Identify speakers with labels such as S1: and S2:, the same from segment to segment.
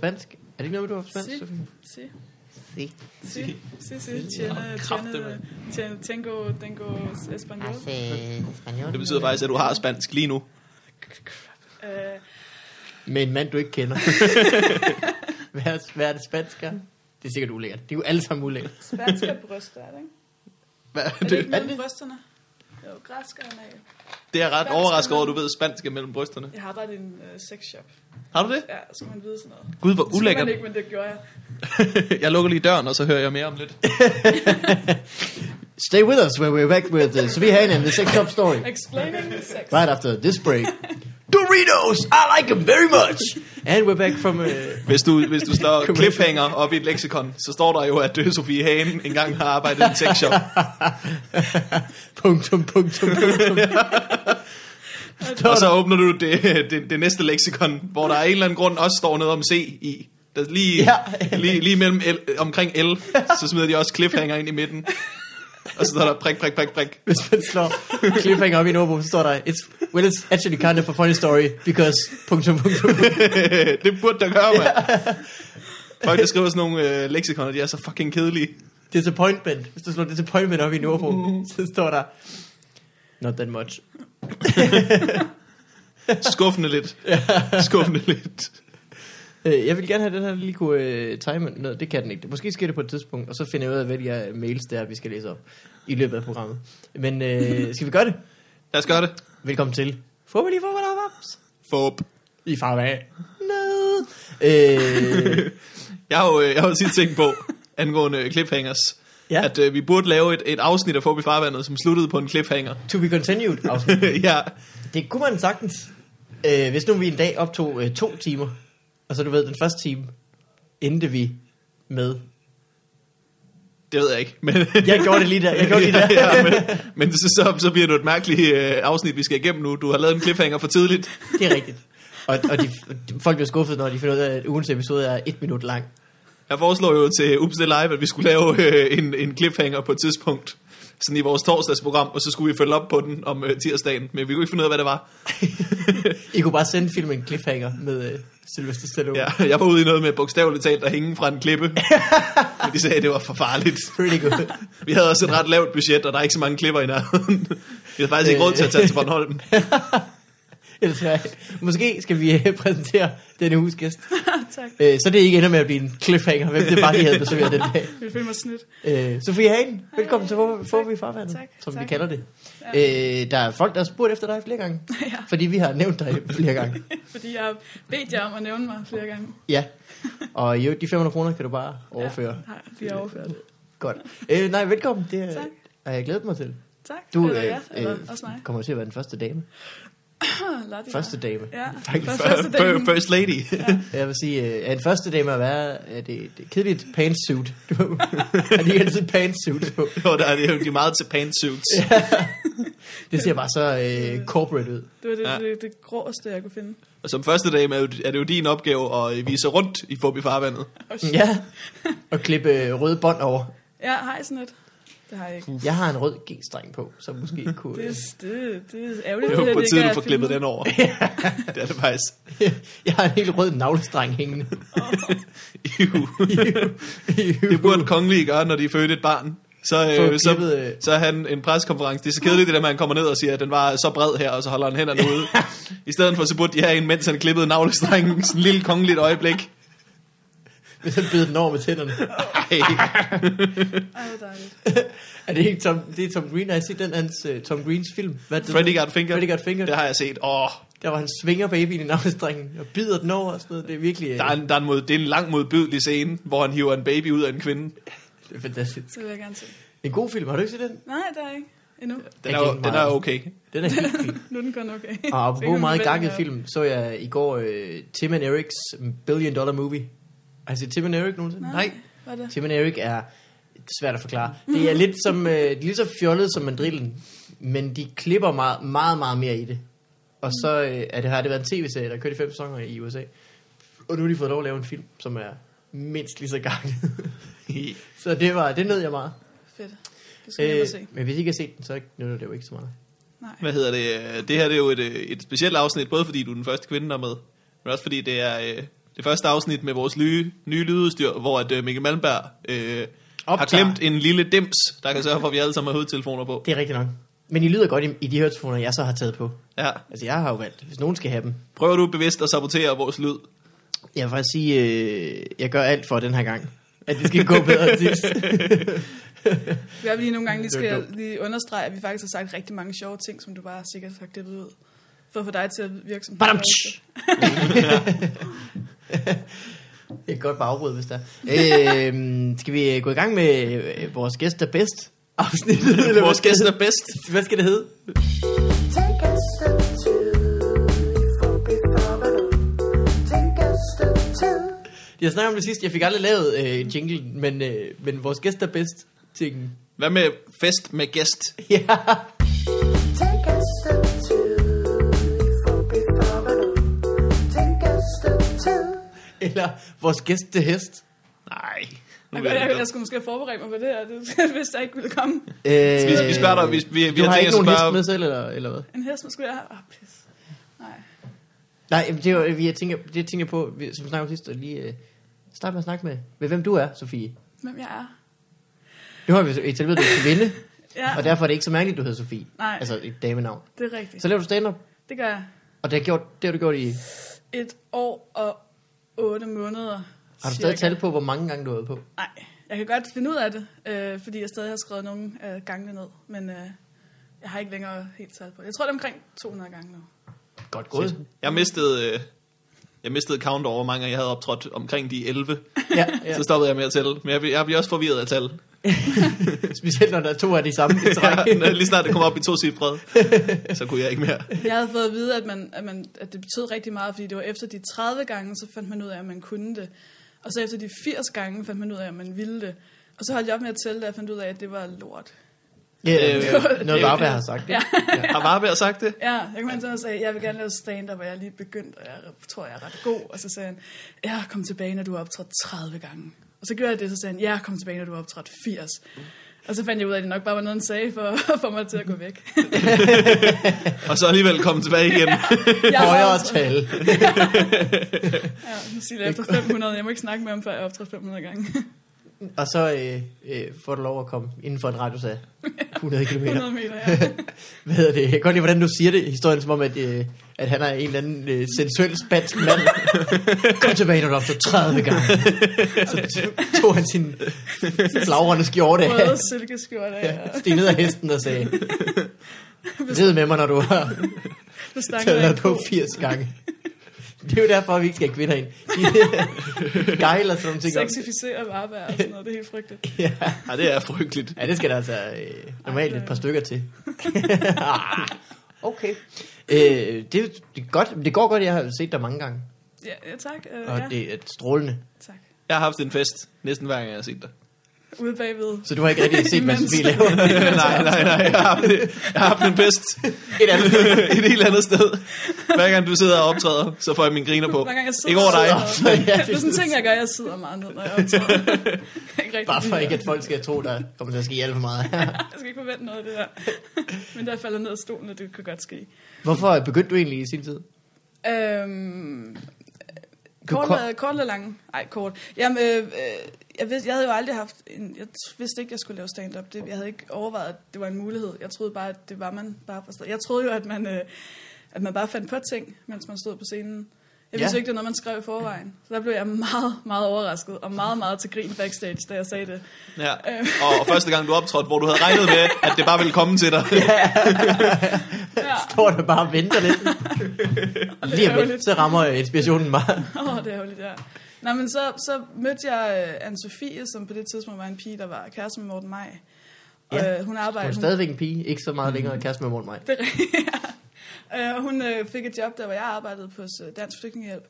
S1: det ikke noget, du har spansk?
S2: Si,
S1: Sofie?
S2: si,
S3: Sí.
S2: si, si, si, tjener, tjener,
S1: kraftedeme.
S2: tjener, tengo, tengo español.
S3: Hace altså, español.
S1: Det betyder faktisk, at du har spansk lige nu.
S2: Øh,
S3: Med en mand, du ikke kender. hvad, er, hvad er det spansker? Det er sikkert ulækkert. Det er jo alle sammen ulækkert.
S2: spanske bryster, er det ikke?
S1: Hvad?
S2: Er det ikke
S3: er
S2: noget med
S3: det?
S2: brysterne? Jo, græsk er en af.
S1: Det er jeg ret
S2: Spansk
S1: overrasket
S2: er
S1: over, at du
S2: noget.
S1: ved spansk er mellem brysterne.
S2: Jeg har arbejdet i en øh, sexshop.
S1: Har du det?
S2: Ja, så man vide sådan noget. Det
S1: Gud, hvor
S2: skulle
S1: ulækkert.
S2: man ikke, men det gjorde jeg.
S1: jeg lukker lige døren, og så hører jeg mere om lidt.
S3: Stay with us, where we're back with uh, Sofie Hagen and the Sex Shop Story.
S2: Explaining sex.
S3: Right after this break. Doritos! I like them very much! And we're back from... Uh,
S1: Hvis du, hvis du slår
S3: Kom
S1: cliffhanger op i et leksikon, så står der jo, at Døde Sofie Hagen engang har arbejdet i en sexshop.
S3: punktum, punktum, punktum.
S1: og så åbner du det, det, det, næste leksikon, hvor der af en eller anden grund også står noget om C i. Der lige,
S3: Ja.
S1: ja. lige, lige mellem L, omkring L, så smider de også cliffhanger ind i midten. Og så står der prik, prik, prik, prik.
S3: Hvis man slår cliffhanger op i en ordbog, så står der, it's, well, it's actually kind of a funny story, because... Punktum, punktum,
S1: det burde der gøre, mand. Folk, der skriver sådan nogle øh, leksikoner, de er så fucking kedelige.
S3: disappointment. Hvis du slår disappointment op i en ordbog, så står der... Not that much.
S1: Skuffende lidt. Skuffende lidt.
S3: Øh, jeg vil gerne have den her lige kunne øh, time noget. Det kan den ikke. Måske sker det på et tidspunkt, og så finder jeg ud af, hvad de her mails der, vi skal læse op i løbet af programmet. Men øh, skal vi gøre det?
S1: Lad os gøre det.
S3: Velkommen til. Får vi lige for, hvad der var?
S1: Forhåb.
S3: I farvand. Noget. Øh,
S1: Jeg har jo, øh, jeg har jo tit tænkt på, angående øh, cliffhangers,
S3: Ja.
S1: ja. at øh, vi burde lave et, et afsnit af Forbi Farvandet, som sluttede på en cliffhanger.
S3: to be continued afsnit.
S1: ja,
S3: Det kunne man sagtens. Øh, hvis nu vi en dag optog øh, to timer, og så du ved, den første time endte vi med...
S1: det ved jeg ikke. Men,
S3: Jeg gjorde det lige der, jeg gjorde det lige der.
S1: ja, men, men så, så, så bliver det jo et mærkeligt øh, afsnit, vi skal igennem nu. Du har lavet en cliffhanger for tidligt.
S3: Det er rigtigt. Og, og de, de, folk bliver skuffet, når de finder ud af, at ugens episode er et minut lang.
S1: Jeg foreslår jo til Ups Det Live, at vi skulle lave øh, en, en cliffhanger på et tidspunkt. Sådan i vores torsdagsprogram, og så skulle vi følge op på den om øh, tirsdagen. Men vi kunne ikke finde ud af, hvad det var.
S3: I kunne bare sende filmen en cliffhanger med øh, Sylvester Stallone. Yeah.
S1: Ja, jeg var ude i noget med bogstaveligt talt at hænge fra en klippe. Men de sagde, at det var for farligt.
S3: Pretty good.
S1: Vi havde også et ret lavt budget, og der er ikke så mange klipper i nærheden. Vi havde faktisk ikke
S3: Øh.
S1: råd til at tage til Bornholm.
S3: Ellers er, måske skal vi øh, præsentere denne uges gæst.
S2: tak.
S3: Øh, så det ikke ender med at blive en cliffhanger, hvem det var, de havde besøgt den dag.
S2: Jeg føler mig snydt.
S3: Øh, Sofie Hagen, velkommen til Hvor,
S2: Tak.
S3: Hvor vi farvandet,
S2: Tak.
S3: som vi
S2: Tak.
S3: kalder det.
S2: Ja.
S3: Øh, der er folk, der har spurgt efter dig flere gange,
S2: ja,
S3: fordi vi har nævnt dig flere gange.
S2: fordi jeg har bedt jer om at nævne mig flere gange.
S3: Ja, og jo, de 500 kroner kan du bare overføre.
S2: Ja, nej, de har overført.
S3: Godt. Øh, nej, velkommen. Det er,
S2: Tak.
S3: har jeg glædet mig til.
S2: Tak.
S3: Du
S2: eller
S3: øh,
S2: ja, eller
S3: øh,
S2: også mig.
S3: kommer til at være den første dame.
S2: Lad det
S3: Første
S2: være.
S3: dame.
S2: Ja,
S3: Faktisk.
S2: Først- første dagen.
S1: First lady.
S3: Jeg vil sige, øh, er en første dame at være, er det, det er kedeligt pantsuit. Du har lige altid pantsuit på.
S1: Jo, der er det jo de er meget til pantsuits.
S3: Det ser bare så øh, corporate ud.
S2: Det var det,
S1: Ja.
S2: det, det gråeste, jeg kunne finde.
S1: Og som første dame er, jo- er det jo din opgave at øh, vise rundt i Fobi Farvandet.
S2: Oh, shit.
S3: Ja, og klippe øh, røde bånd over.
S2: Ja, hej sådan lidt. Det har jeg ikke.
S3: Jeg har en rød G-streng på, som måske kunne...
S2: Det,
S3: Øh,
S2: er- det, det er ærgerligt,
S1: Det er jo
S2: at
S1: på
S2: det
S1: tide,
S2: ikke
S1: du
S2: er
S1: får klippet den
S2: filmet.
S1: over. Det er det faktisk.
S3: øh, jeg har en helt rød navlestreng hængende.
S1: Iu. Det burde kongelige gøre, når de fødte et barn. Så,
S3: Få
S1: øh, så,
S3: klippet, øh.
S1: så er han en preskonference. Det er så kedeligt, det der med, at han kommer ned og siger, at den var så bred her, og så holder han hænderne ude. I stedet for, så burde de have en, mens han klippede navlestrengen. Sådan en lille kongeligt øjeblik.
S3: Hvis han beder den over med tænderne.
S1: Ej.
S2: Ej, hvor dejligt.
S3: Er det ikke Tom, det er Tom Green? Har I set den hans, øh, Tom Greens film? Hvad er det?
S1: Freddy Got Finger.
S3: Freddy Got Fingered.
S1: Det har jeg set. Åh,
S3: Der var han svinger babyen i navlestrengen og bider den over og sådan noget. Det er virkelig... Øh,
S1: der er en, der er en mod, det er en lang modbydelig scene, hvor han hiver en baby ud af en kvinde.
S3: Det er fantastisk.
S2: Så vil jeg gerne se.
S3: En god film, har du ikke set den?
S2: Nej, der er ikke. Endnu.
S1: Den
S3: Jeg
S1: er,
S3: gik
S1: jo- den
S3: meget.
S1: er okay.
S3: Den er helt fin.
S2: Nu er den kun okay.
S3: Og
S2: Så kan
S3: apropos
S2: vi
S3: meget
S2: vælge
S3: gakket
S2: den her.
S3: film, så jeg i går øh, Tim and Eric's Billion Dollar Movie. Har I set Tim and Eric nogensinde?
S2: Nej. Hvad er det?
S3: Tim and Eric er svært at forklare. Det er lidt som øh, det er lige så fjollet som mandrillen, men de klipper meget, meget, meget mere i det. Og så øh, er det, har det været en tv-serie, der kørte i fem sæsoner i USA. Og nu har de fået lov at lave en film, som er mindst lige så gakket. så det var, det nød jeg meget.
S2: Fedt. Det skal jeg øh, se.
S3: men hvis I ikke har set den, så nytter det jo ikke så meget.
S2: Nej.
S1: Hvad hedder det? Det her det er jo et, øh, et specielt afsnit, både fordi du er den første kvinde, der er med, men også fordi det er øh, det første afsnit med vores nye, nye lydudstyr, hvor at, øh, Mikkel Malmberg øh, har
S3: Optager.
S1: glemt en lille dims, der kan sørge for, at vi alle sammen har hovedtelefoner på.
S3: Det er rigtigt nok. Men I lyder godt i, i de høretelefoner, jeg så har taget på.
S1: Ja.
S3: Altså, jeg har jo valgt, hvis nogen skal have dem.
S1: Prøver du bevidst at sabotere vores lyd?
S3: Jeg vil faktisk sige, øh, jeg gør alt for den her gang. At det skal gå bedre end sidst.
S2: Det er lige nogle gange lige
S3: Det er
S2: skal lige understrege, at vi faktisk har sagt rigtig mange sjove ting, som du bare sikkert har klippet ud. For at få dig til at virke som...
S3: Badum, tsch. det er et godt bagråd, hvis der. er. Øh, skal vi øh, gå i gang med øh, vores gæst er bedst? Afsnittet, eller hvad
S1: vores
S3: skal
S1: gæst
S3: det
S1: er bedst.
S3: hedde? Hvad skal det hedde?
S4: Take a step two, for phenomenal. Take a step two.
S3: Jeg snakkede om det sidst, jeg fik aldrig lavet øh, jingle, men, øh, men vores gæst er bedst tingen.
S1: Hvad med fest med gæst?
S3: Ja.
S4: Take a step two, for phenomenal. Take a step two.
S3: Eller vores gæst til hest.
S1: Nej. Nu
S2: Jeg,
S1: ved
S2: jeg,
S1: jeg
S2: jeg, jeg
S1: det
S2: skulle måske have forberedt mig på det her, det, hvis der ikke ville komme.
S3: Øh,
S1: vi, vi spørger dig, vi, vi, vi
S3: du har
S1: tænkt
S3: ikke
S1: os at
S3: nogen
S1: spørge-
S3: hest med selv, eller, eller hvad?
S2: En hest, man skulle jeg have... Åh, pis. Nej.
S3: Nej, men det er jo, vi- jeg tænker, det tænker jeg på, vi- som vi snakkede om sidst, at lige øh, starte med at snakke med, med, hvem du er, Sofie.
S2: Hvem jeg er?
S3: Nu har vi etableret, at du skal vinde,
S2: Ja,
S3: og derfor er det ikke så mærkeligt, at du hedder Sofie.
S2: Nej.
S3: Altså et damenavn.
S2: det er rigtigt.
S3: Så laver du stand-up,
S2: Det gør jeg.
S3: og det har, gjort, det har du gjort i...
S2: Et år og otte måneder.
S3: Har du stadig
S2: cirka.
S3: tal på, hvor mange gange du har været på?
S2: Nej, jeg kan godt finde ud af det, øh, fordi jeg stadig har skrevet nogle af gangene ned, men øh, jeg har ikke længere helt tal på det. Jeg tror, det er omkring 200 gange nu.
S3: Godt gået.
S1: Jeg mistede, øh, jeg mistede count over, hvor mange jeg havde optrådt omkring de 11.
S3: Ja,
S1: Ja.
S3: ja.
S1: Så stoppede jeg med at tælle. Men jeg, blev- jeg bliver også forvirret af tal.
S3: Specielt når der er to af de samme i træk.
S1: Ja, lige snart det kom op i to cifre, så kunne jeg ikke mere.
S2: Jeg havde fået at vide, at, man, at, man, at det betød rigtig meget, fordi det var efter de 30 gange, så fandt man ud af, at man kunne det. Og så efter de 80 gange fandt man ud af, at man ville det. Og så holdt jeg op med at tælle, da jeg fandt ud af, at det var lort.
S3: Ja,
S1: Øh,
S3: det er jo noget,
S1: det-
S3: Varberg har sagt. Ja.
S1: Har Varberg sagt det?
S2: Ja, jeg kom hen til ham og sagde, jeg vil gerne lave stand-up, og jeg er lige begyndt, og jeg tror, jeg er ret god. Og så sagde han, ja, kom tilbage, når du har optrådt 30 gange. Og så gjorde jeg det, så sagde han, ja, kom tilbage, når du har optrådt 80. Og så fandt jeg ud af, at det nok bare var noget, han sagde for, for mig til at gå væk.
S1: Og så alligevel komme tilbage igen.
S2: Jeg har
S3: Højere
S2: optrådt-
S3: tal.
S2: Ja, nu siger jeg efter 500, jeg må ikke snakke med ham, før jeg har optrådt 500 gange.
S3: Og så øh, øh, får du lov at komme inden for en radius af 100 km.
S2: 100 meter, ja.
S3: Hvad hedder det? Jeg kan godt lide, hvordan du siger det. Historien som om, at, øh, at han er en eller anden øh, sensuel spansk mand. Kom tilbage, når du har opstået 30 gange. Så tog han sin flagrende skjorte af.
S2: Røde silkeskjorte af, og
S3: Steg ned af hesten og sagde, Led med mig, når du har
S2: så snakkede jeg
S3: taget
S2: en
S3: på
S2: ko.
S3: 80 gange. Det er jo derfor, at vi ikke skal have kvinder ind. De gejler sådan nogle ting. op.
S2: Sexificere varebær og sådan noget, det er helt frygteligt.
S3: Ja.
S1: Ja, det er frygteligt.
S3: Ja, det skal der altså øh, normalt
S2: Ej,
S3: et par stykker til. okay. Øh, det, det, er godt, det går godt, jeg har set dig mange gange,
S2: Ja, ja tak. Øh,
S3: og
S2: ja,
S3: det er strålende.
S2: tak.
S1: Jeg har haft en fest næsten hver gang, jeg har set dig.
S2: Ude bagved.
S3: Så du har ikke rigtig set, hvad
S2: Imens.
S3: Sofie laver
S1: nej, nej, nej. Jeg har haft, jeg har haft en fest
S3: et andet sted.
S1: et helt andet sted. Hver gang du sidder og optræder, så får jeg min griner på.
S2: Hver gang jeg sidder,
S1: Ikke over dig.
S2: sidder-
S3: Ja,
S2: det er sådan en ting, jeg gør. Jeg sidder meget ned, når jeg optræder. Jeg kan ikke rigtig
S3: Bare for
S2: lide
S3: ikke,
S2: det.
S3: at folk skal tro, der kommer til at ske alt for meget.
S2: Jeg skal ikke forvente noget af det der. Men der falder ned af stolen, og det kan godt ske.
S3: Hvorfor begyndte du egentlig i sin tid?
S2: Øhm,
S3: Du
S2: kort,
S3: kom-
S2: eller, kort eller lang? Ej, kort. Jamen, øh, øh, jeg, vidste, jeg havde jo aldrig haft en, Jeg t- vidste ikke, jeg skulle lave stand-up. Det, jeg havde ikke overvejet, at det var en mulighed. Jeg troede bare, at det var man bare for Jeg troede jo, at man, øh, at man bare fandt på ting, mens man stod på scenen. Jeg vidste
S3: Ja.
S2: jo ikke, det var noget, man skrev i forvejen. Så der blev jeg meget, meget overrasket, og meget, meget til grin backstage, da jeg sagde det.
S1: Ja.
S2: Øh.
S1: Og, og første gang du optrådte, hvor du havde regnet med, at det bare ville komme til dig.
S2: Ja.
S3: Står der bare og venter lidt. Lige om lidt,
S2: ærgerligt.
S3: så rammer inspirationen mig.
S2: Åh, oh, det er jo lidt, ja. Nå, men så, så mødte jeg øh, Anne-Sophie, som på det tidspunkt var en pige, der var kæreste med Morten Maj.
S3: Ja,
S2: Ja, øh, hun
S3: Du er
S2: arbejdede...
S3: stadigvæk en pige, ikke så meget længere kæreste med Morten Maj.
S2: Det er rigtigt, ja. Øh, og hun øh, fik et job der, hvor jeg arbejdede på øh, Dansk Flygtningehjælp.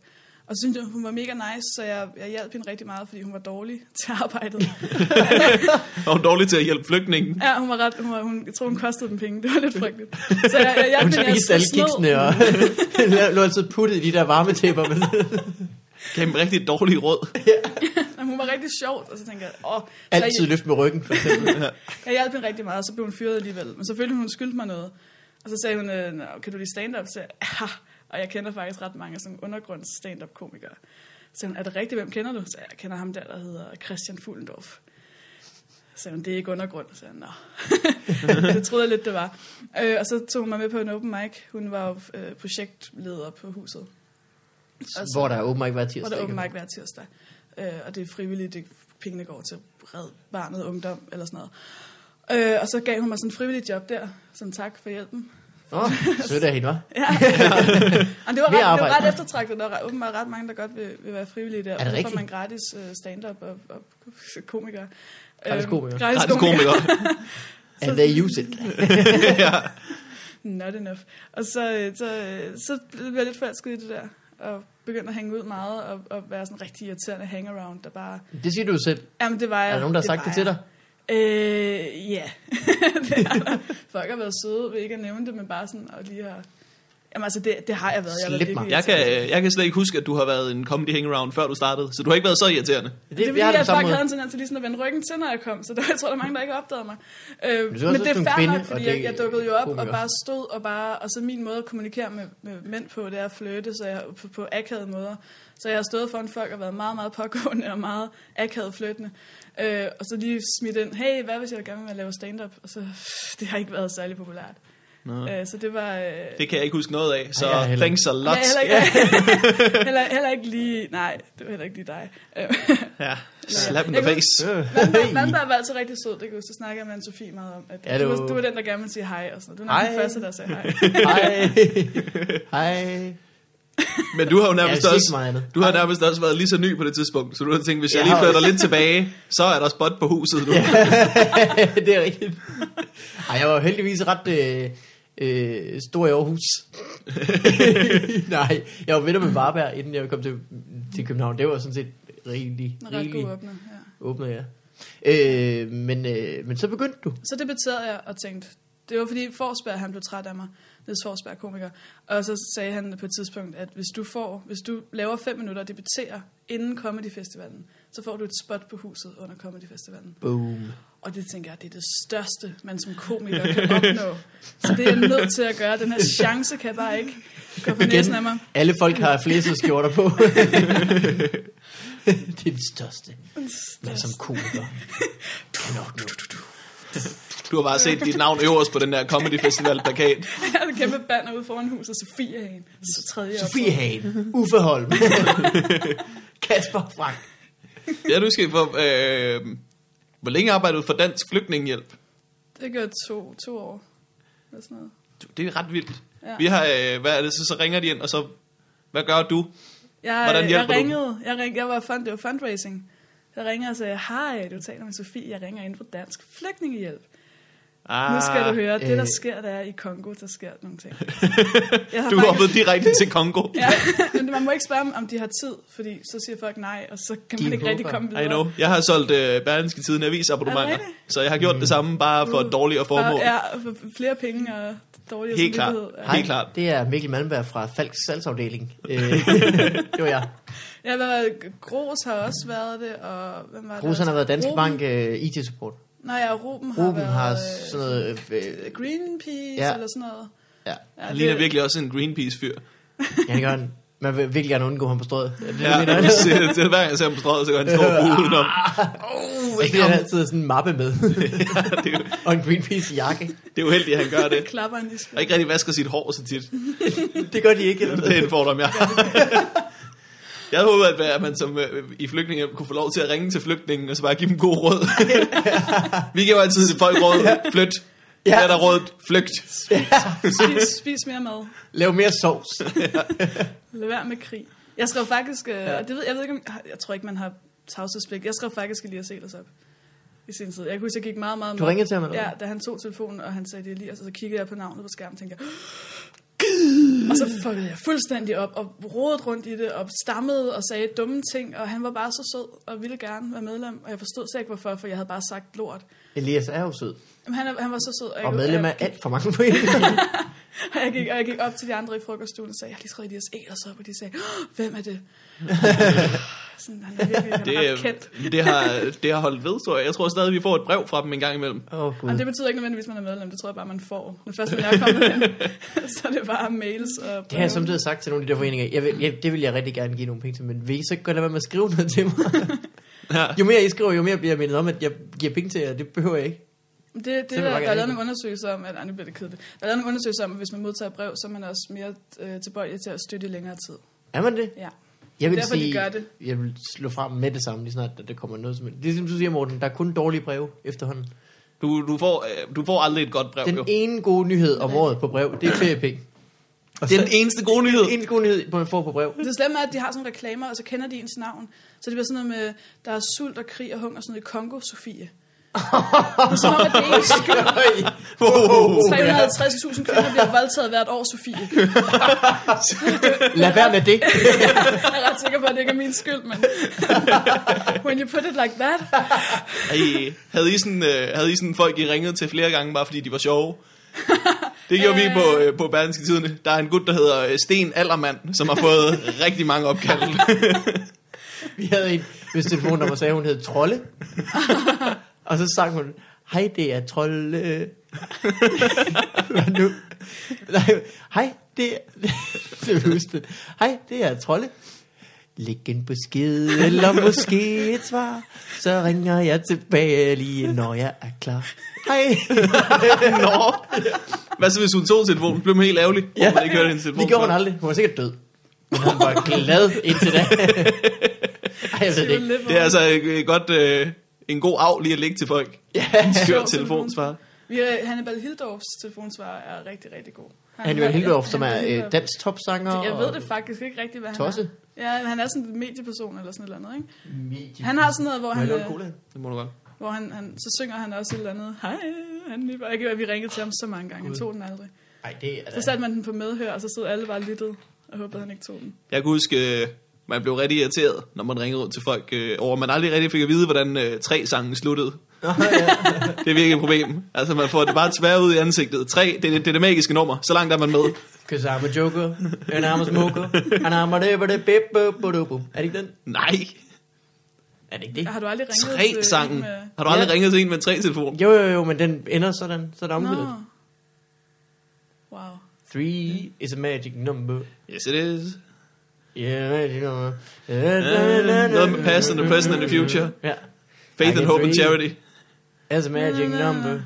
S2: Og så syntes jeg, hun var mega nice, så jeg, jeg hjalp hende rigtig meget, fordi hun var dårlig til arbejdet.
S1: Og dårlig til at hjælpe flygtningen.
S2: ja, hun var ret... Hun var, hun, jeg tror, hun kostede dem penge. Det var lidt frygteligt. Så jeg, jeg hjalp
S3: Hun
S2: hende, jeg
S3: spiste alle
S2: snød-
S3: kiksene og lå altid puttet i de der varme tæpper. Men
S1: Gav dem rigtig dårlige råd.
S2: Jamen, hun var rigtig sjov, og så tænkte jeg, åh... så
S3: altid
S2: jeg-
S3: løft med ryggen, for eksempel.
S2: Jeg hjalp hende rigtig meget, og så blev hun fyret alligevel. Men så følte hun, hun skyldte mig noget. Og så sagde hun, øh, "Nå, kan du lige stand-up? Så jeg, ja. Og jeg kender faktisk ret mange sådan undergrunds stand-up komikere. Så sagde hun, er det rigtigt, hvem kender du? Så jeg kender ham der, der hedder Christian Fuglendorf. Så sagde hun, det er ikke undergrund. Så sagde jeg, nå. det troede jeg lidt, det var. Øh, og så tog hun mig med på en open mic. Hun var jo øh, projektleder på huset. Og så-
S3: Hvor der åbenbart ikke var
S2: hvor
S3: tirsdag.
S2: der er
S3: ikke?
S2: åben mic hver tirsdag. Øh, og det er frivilligt, det, pengene går til red barnet ungdom eller sådan noget. Øh, og så gav hun mig sådan en frivillig job der, som tak for hjælpen.
S3: Åh, oh, sødt af hende, hva'?
S2: Ja. Jamen, det, var ret, det
S3: Ved
S2: var
S3: arbejde.
S2: ret eftertragtet, der er åbenbart ret mange, der godt vil, vil være frivillige der.
S3: det
S2: og så får
S3: rigtigt?
S2: man gratis øh, stand-up og, og komikere.
S3: Gratis
S2: Øhm,
S3: komikere.
S1: Der
S2: Gratis
S1: er det
S2: komikere.
S1: komiker.
S3: And they use it.
S1: ja.
S2: Not enough. Og så, øh, så, øh, så blev jeg lidt forelsket i det der, og begyndte at hænge ud meget, og, og være sådan en rigtig irriterende hangaround, der bare...
S3: Det siger du jo selv.
S2: Jamen, det var jeg.
S3: Er der nogen, der har sagt
S2: var
S3: det til
S2: jeg.
S3: dig?
S2: Øh, ja. Det er der. Folk har været søde ved ikke at nævne det, men bare sådan og lige har... Jamen altså, det, det har jeg været. Jeg har været
S3: Slip
S2: virkelig
S3: mig.
S1: Jeg
S2: irriterende.
S1: kan, jeg kan slet ikke huske, at du har været en comedy hangaround, før du startede, så du har ikke været så irriterende.
S3: Det,
S2: Det, det er
S3: har
S2: fordi,
S3: det
S2: at
S3: på samme
S2: folk
S3: måde.
S2: havde en tendens til lige sådan at vende ryggen til, når jeg kom, så der, jeg tror, der er mange, der ikke har opdaget mig. Øh,
S3: Men
S2: men
S3: du er også
S2: det er
S3: en
S2: fair
S3: kvinde,
S2: nok,
S3: og
S2: fordi
S3: det
S2: jeg, jeg dukkede jo op
S3: komiker.
S2: og bare stod og bare... Og så min måde at kommunikere med, med mænd på, det er at flytte så jeg, på, på akavede måder. Så jeg har stået foran folk og været meget, meget pågående og meget akavet flyttende. Øh, og så lige smidt ind, hey, hvad hvis jeg gerne vil lave stand-up? Og så, det har ikke været særlig populært.
S1: Nå.
S2: Øh, så det var... Øh,
S1: Det kan jeg ikke huske noget af, så
S3: Ej, jeg er heller ikke.
S1: thanks a lot.
S2: Ja, heller ikke, heller, heller ikke lige... Nej, det var heller ikke lige dig. Øh,
S1: Ja, slap in the
S2: Jeg kan-
S1: face.
S3: Øh.
S2: Vandberg, Vandberg var altid rigtig sød, det kan jeg huske. Det snakker jeg med Anne-Sophie meget om. At
S3: Ja,
S2: ja,
S3: det
S2: du,
S3: var-
S2: var, du var den, der gerne ville sige hej og sådan noget. Du var nok den
S3: Hej.
S2: første, der sagde hej.
S3: Hej. Hej.
S1: Men du har jo
S3: Jeg har
S1: nærmest
S3: set
S1: også...
S3: meget andet.
S1: Du har nærmest også været lige så ny på det tidspunkt, så du har tænkt, hvis jeg,
S3: Jeg
S1: lige
S3: har
S1: flytter
S3: også-
S1: lidt tilbage, så er der spot på huset nu.
S3: det er rigtigt. Ej, jeg var heldigvis ret øh, øh, stor i Aarhus. Nej, jeg var venner med Varberg, inden jeg kom til, til København. Det var sådan set rigtig,
S2: En ret god
S3: rigtig
S2: åbner, ja.
S3: åbnet, ja. Øh, men, øh, men så begyndte du.
S2: Så debatterede jeg og tænkte, det var fordi Forsberg, han blev træt af mig. Niels Forsberg er komiker. Og så sagde han på et tidspunkt, at hvis du, får, hvis du laver fem minutter og debatterer inden Comedy Festivalen, så får du et spot på huset under Comedy Festivalen.
S3: Boom.
S2: Og det tænker jeg, det er det største, man som komiker kan opnå. Så det er jeg nødt til at gøre. Den her chance kan jeg bare ikke gå for næsen af mig.
S3: Alle folk har flæset skjorter på. det er den største. Men som komiker.
S1: Du har bare set dit navn øverst på den der comedy festival plakat.
S2: Jeg havde en kæmpe banner ude foran huset, Sofie er en. Så tredje år.
S3: Sofie Hagen. Uffe Holm. Kasper Frank.
S1: Jeg du skal for, øh, hvor længe arbejdede du for Dansk Flygtningehjælp?
S2: Det gjorde to, to år. Eller sådan noget.
S1: Det er ret vildt.
S2: Ja.
S1: Vi har, øh, hvad er det, så, så ringer de ind, og så, hvad gør du?
S2: Jeg,
S1: Hvordan
S2: jeg
S1: hjælper du
S2: ringede, jeg ringede, jeg var fund, det var fundraising. Jeg ringer og sagde, hej, du taler med Sofie, jeg ringer ind på Dansk Flygtningehjælp.
S1: Ah,
S2: nu skal du høre, det der
S3: øh.
S2: sker, der er i Kongo, der sker nogle ting. Jeg har
S1: Du
S2: faktisk-
S1: hoppede direkte til Kongo.
S2: Ja, men man må ikke spørge, om de har tid, fordi så siger folk nej, og så kan
S3: De
S2: man ikke rigtig
S3: håber.
S2: komme videre.
S1: I know. Jeg har solgt øh, Berlingske Tiden avisabonnementer,
S2: Er det rigtigt?
S1: så jeg har gjort det samme, bare for et dårligere formål.
S2: Og, ja, og for flere penge og dårligere
S1: Helt klart.
S2: samvittighed. Ja.
S1: Helt klart.
S3: Det er Mikkel Malmberg fra Falks salgsafdeling. Øh, det var jeg.
S2: Ja, hvad var det? Gros har også været det, og hvem var det?
S3: Rosen har været Danske
S2: Ruben.
S3: Bank øh, IT-support.
S2: Nej, ja, Ruben har
S3: Ruben
S2: været...
S3: har
S2: øh,
S3: sådan noget... Øh, øh,
S2: Greenpeace
S3: Ja.
S2: ja. eller sådan noget.
S3: ja,
S2: Ja,
S1: Han ligner virkelig også en Greenpeace-fyr.
S3: jeg gør han. Man vil virkelig gerne undgå ham på strøget. Det er det,
S1: Ja,
S3: jeg mener.
S1: det, det, det, hver gang jeg ser ham på strøget, så går han stor på udenom.
S3: Så bliver han altid sådan en mappe med.
S1: Det er,
S3: og en Greenpeace-jakke.
S1: det er uheldigt, at han gør det.
S2: Klapper han i
S1: Og ikke rigtig vasker sit hår så tit.
S3: Det gør de ikke. Eller
S1: Det er en fordom, jeg har. Jeg havde håbet, at man som øh, i flygtninge kunne få lov til at ringe til flygtningen, og så bare give dem god råd. Vi giver jo altid til folk råd. Flyt. Ja. Hvad er der råd? Flygt.
S2: Spis, spis mere mad.
S3: Lav mere sovs.
S2: Lad være med krig. Jeg skrev faktisk... Øh, og det ved, jeg ved ikke, om, jeg tror ikke, man har tavshedspligt. Jeg skrev faktisk Elias Elers op i sin tid. Jeg kan huske, jeg gik meget, meget...
S3: Du ringede til ham, eller
S2: Ja,
S3: hvad?
S2: da han tog telefonen, og han sagde det Elias, og så kiggede jeg på navnet på skærmen og tænkte, jeg, og så fuckede jeg fuldstændig op og rodede rundt i det og stammede og sagde dumme ting, og han var bare så sød og ville gerne være medlem, og jeg forstod slet ikke hvorfor, for jeg havde bare sagt lort.
S3: Elias er jo sød.
S2: Jamen, han, er- han var så sød. jeg
S3: Og
S2: kunne-
S3: medlem af
S2: jeg-
S3: alt for mange foreninger.
S2: Og jeg gik, og jeg gik op til de andre i frokoststuen og sagde, jeg har lige skrevet Elias Ehlers op, og de sagde, "Åh, hvem er det? Sådan, han er virkelig han er
S1: Det,
S2: ret kendt.
S1: øh, det, har, det har holdt ved, tror jeg. Jeg tror stadig, vi får et brev fra dem en gang imellem.
S3: Åh, oh, Gud.
S2: Og det betyder ikke nødvendigvis, at man er medlem. Det tror jeg bare, man får. Når først man er kommet ind, så er det bare mails og
S3: Det har jeg samtidig sagt til nogle af de der foreninger. Jeg vil, jeg, det vil jeg rigtig gerne give nogle penge til, men vil I så godt lade være med at skrive noget til mig?
S1: Ja.
S3: jo mere I skriver, jo mere bliver jeg mindet om, at jeg giver penge til jer. Det behøver jeg ikke.
S2: Det, det, det
S3: vil
S2: der, der
S3: jeg
S2: er
S3: gerne
S2: lavet
S3: have.
S2: nogle undersøgelser om, at, ej, nu bliver det kedeligt. Der er lavet nogle undersøgelser om, at hvis man modtager brev, så er man også mere øh, tilbøjelig til at støtte i længere tid.
S3: Er man det?
S2: Ja.
S3: Jeg vil
S2: Derfor, de
S3: sige,
S2: gør det.
S3: jeg vil slå frem med det samme, lige snart at der kommer noget som Det er som du siger, Morten, der er kun dårlige breve efterhånden.
S1: Du, du, får, øh, du får aldrig et godt brev,
S3: Den
S1: jo.
S3: ene gode nyhed om året på brev, det er feriepenge. Og
S1: Det er
S3: så-
S1: den eneste gode nyhed.
S3: den eneste gode nyhed, man får på brev.
S2: Det slemme er, at de har sådan nogle reklamer, og så kender de ens navn. Så det bliver sådan noget med, der er sult og krig og hunger, sådan noget i Kongo, Sofie. så om, at det er ens skyld.
S3: Oh,
S1: Wow.
S2: 350.000 kvinder bliver voldtaget hvert år, Sofie.
S3: Lad være med det.
S2: Jeg er ret sikker på, at det ikke er min skyld, men... When you put it like that...
S1: Ej, havde, I sådan, øh, havde I sådan folk, I ringede til flere gange, bare fordi de var sjove? Det gjorde vi på, øh, på Berlingske Tidene. Der er en gut, der hedder øh, Sten Allermand, som har fået rigtig mange opkald.
S3: Vi havde en, hvis telefonnummer sagde, hun hed Trolle. og så sang hun, hej, det er Trolle. Hvad nu? Nej, hej, det er... det er husket. Hej, det er Trolle. Læg en besked, eller måske et svar. Så ringer jeg tilbage lige, når jeg er klar. Hej.
S1: Nå. Hvad så, hvis hun tog telefonen? Blev man helt ærgerlig, ja. man ikke hørte hendes telefon?
S3: det gjorde hun aldrig. Hun var sikkert død. Men hun var glad indtil da. Ej, jeg ved det ikke.
S1: Det er altså øh, godt øh, en god arv lige at lægge til folk.
S3: Ja.
S1: En skør
S2: Sjov
S1: telefonsvar.
S2: Vi er, Hannibal Hildorfs telefonsvar er rigtig, rigtig god. Han
S3: Hannibal Hildorf, som er
S2: Hannibal
S3: øh,
S2: Hildorf.
S3: dansk topsanger.
S2: Jeg ved det
S3: og-
S2: faktisk ikke rigtigt, hvad han
S3: Tosse.
S2: er. Ja, men han er sådan en medieperson eller sådan et eller andet, ikke? Han har sådan noget, hvor
S3: Må jeg
S2: han,
S3: låne
S2: øh,
S3: cola?
S1: Det må du godt.
S2: hvor han, han, så synger han også et eller andet. Hej, han lige Jeg kan vi ringede til ham så mange gange. Han tog den aldrig.
S3: Ej, det er
S2: Så satte man den på medhør, og så stod alle bare lyttet og håbede, han ikke tog den.
S1: Jeg kan huske, øh, man blev rigtig irriteret, når man ringede rundt til folk, øh, over at man aldrig rigtig fik at vide, hvordan øh, tre sangen sluttede. det er virkelig et problem. Altså, man får det bare tvært ud i ansigtet. Tre, det, er det, det er det magiske nummer. Så langt er man med.
S3: Cause I'm a joker, and I'm a smoker, and I'm a dipper det bip bup bup bup. Er det ikke den?
S1: Nej,
S3: Er det ikke det?
S2: Har du aldrig ringet til
S1: tre
S2: en
S1: sangen.
S2: med-
S1: Har du aldrig
S3: Ja.
S1: ringet til en med en tre-telefon?
S3: Jo, jo, jo, men den ender sådan, så er der omgivet.
S2: Nå. Wow.
S3: Three is a magic number.
S1: Yes, it is.
S3: Yeah, magic number.
S1: noget med past and the present and the future.
S3: Ja.
S1: Faith
S3: Ej,
S1: and hope and
S3: fordi-
S1: charity.
S3: As a magic number,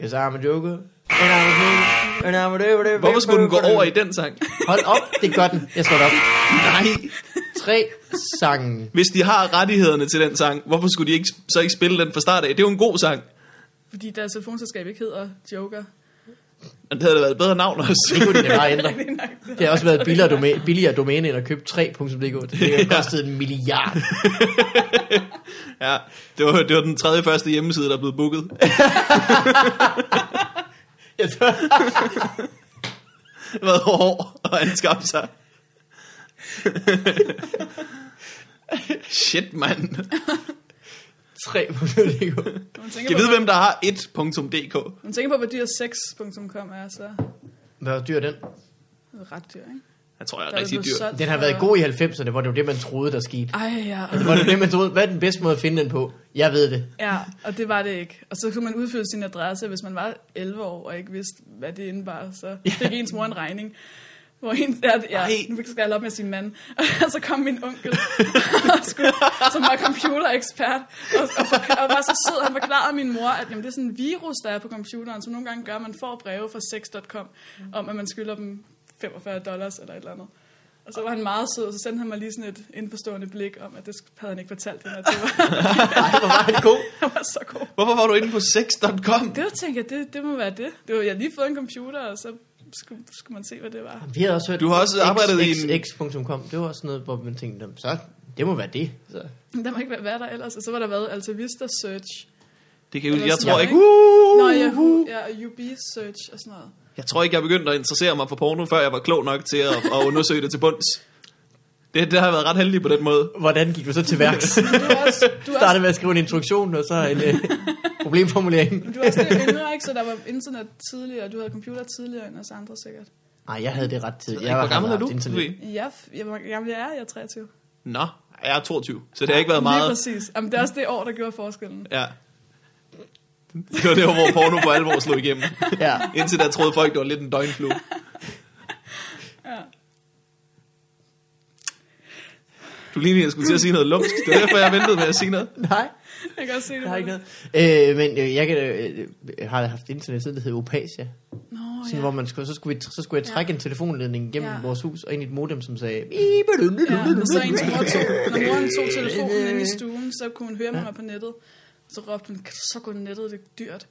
S3: cause I'm a joker, and I'm a smoker, and I'm a dipper det bip
S1: Hvorfor skulle den gå
S3: bup, bup,
S1: over i
S3: bup.
S1: den sang?
S3: Hold op, det gør den. Jeg slår det op.
S1: Nej.
S3: Tre sangen.
S1: Hvis de har rettighederne til den sang, hvorfor skulle de ikke, så ikke spille den fra start af? Det er jo en god sang.
S2: Fordi deres telefonselskab ikke hedder Joker.
S1: Men det havde da været et bedre navn også.
S3: Det kunne de da bare ændre.
S2: Det er nok det.
S3: Det har også været et billigere, domæ billigere domæne end at købe 3.dk. Det har kostet en milliard.
S1: Ja, det var, det var den tredje første hjemmeside, der er blevet booket.
S3: Jeg tror,
S1: Det har været hård at anskaffe sig. Shit, mand.
S3: 3.dk.
S2: Når man tænker,
S1: Kan
S2: på,
S1: vide, hvem der har 1.dk?
S2: når man tænker på, hvor dyr 6.com er, så er
S3: Hvad dyr er den?
S2: det ret dyr, ikke?
S1: Jeg tror, jeg
S2: Der
S1: er rigtig
S2: blevet
S1: dyr.
S2: solgt
S3: Den har
S2: for-
S3: været god i 90'erne, hvor det var det, man troede, der skete.
S2: Ej, ja.
S3: Det var det, man troede. Hvad er den bedste måde at finde den på? Jeg ved det.
S2: Ja, og det var det ikke. Og så kunne man udfylde sin adresse, hvis man var 11 år og ikke vidste, hvad det indebar. Så fik ens mor en regning. Hvor en, ja, ja,
S1: Ej.
S2: nu skal jeg holde op med sin mand. Og så kom min onkel, og skulle, som var computerekspert, og, og, fork- og, var så sød, han forklarede min mor, at jamen, det er sådan en virus, der er på computeren, som nogle gange gør, at man får breve fra sex.com, om at man skylder dem 45 dollars eller et eller andet. Og så var han meget sød, og så sendte han mig lige sådan et indforstående blik om, at det havde han ikke fortalt hende, at det var,
S3: Ej, hvor var det god.
S2: han var så god.
S1: Hvorfor var du inde på 6.com?
S2: Det var, tænkte jeg, det, det må være det. det var, jeg havde lige fået en computer, og så skulle, skulle man se, hvad det var.
S3: Vi havde også hørt
S1: Du har også arbejdet i en-
S3: xx.com. Det var også noget, hvor man tænkte, "Nå, så det må være det. Så.
S2: Men Der må ikke være, hvad der ellers. Og så var der været Altavista Search.
S1: Det kan jeg,
S2: Eller
S1: jeg
S2: sådan
S1: tror
S2: noget,
S1: ikke.
S2: Uh, Nå,
S1: Uh,
S2: Yahoo, ja, og UB Search og sådan noget.
S1: Jeg tror ikke, jeg begyndte at interessere mig for porno, før jeg var klog nok til at, at undersøge det til bunds. Det, det har jeg været ret heldig på den måde.
S3: Hvordan gik du så til værks?
S2: Du er også, du er
S3: startede
S2: også,
S3: med at skrive en introduktion, og så en, øh, Problemformuleringen.
S2: Men du er også lidt yngre, ikke? Så der var internet tidligere, og du havde computer tidligere end os andre sikkert.
S3: Nej, jeg havde det ret tid.
S1: Jeg Hvor
S3: har
S1: gammel er
S3: haft
S1: du?
S3: internet.
S1: Sofie?
S2: Ja, f- jeg, hvor gammel jeg er, jeg er 23.
S1: Nå, jeg er 22, så det har ikke været
S2: Lige
S1: meget.
S2: præcis. Jamen, det er også det år, der gjorde forskellen.
S1: Ja. Det var det, hvor porno på alvor slog igennem.
S3: Ja.
S1: Indtil da troede folk, det var lidt en døgnflue. Du lignede, at jeg skulle til at sige noget lumsk. Det er derfor, jeg ventede med at sige noget.
S3: Nej,
S2: Jeg kan også se det.
S3: jeg har
S2: på
S3: ikke
S2: dig.
S3: noget. Øh, men øh, jeg kan, øh, øh, har haft internet siden, det hed Opasia.
S2: Nå,
S3: Sådan,
S2: ja.
S3: hvor man skulle, så, skulle vi, så skulle jeg trække en telefonledning gennem
S2: Ja.
S3: vores hus og ind i et modem, som sagde...
S2: Ja, når så ens mor tog, når moren tog telefonen
S3: Øh,
S2: ind i stuen, så kunne hun høre mig på nettet. Så råbte hun, "Kan du så gå nettet, det er dyrt.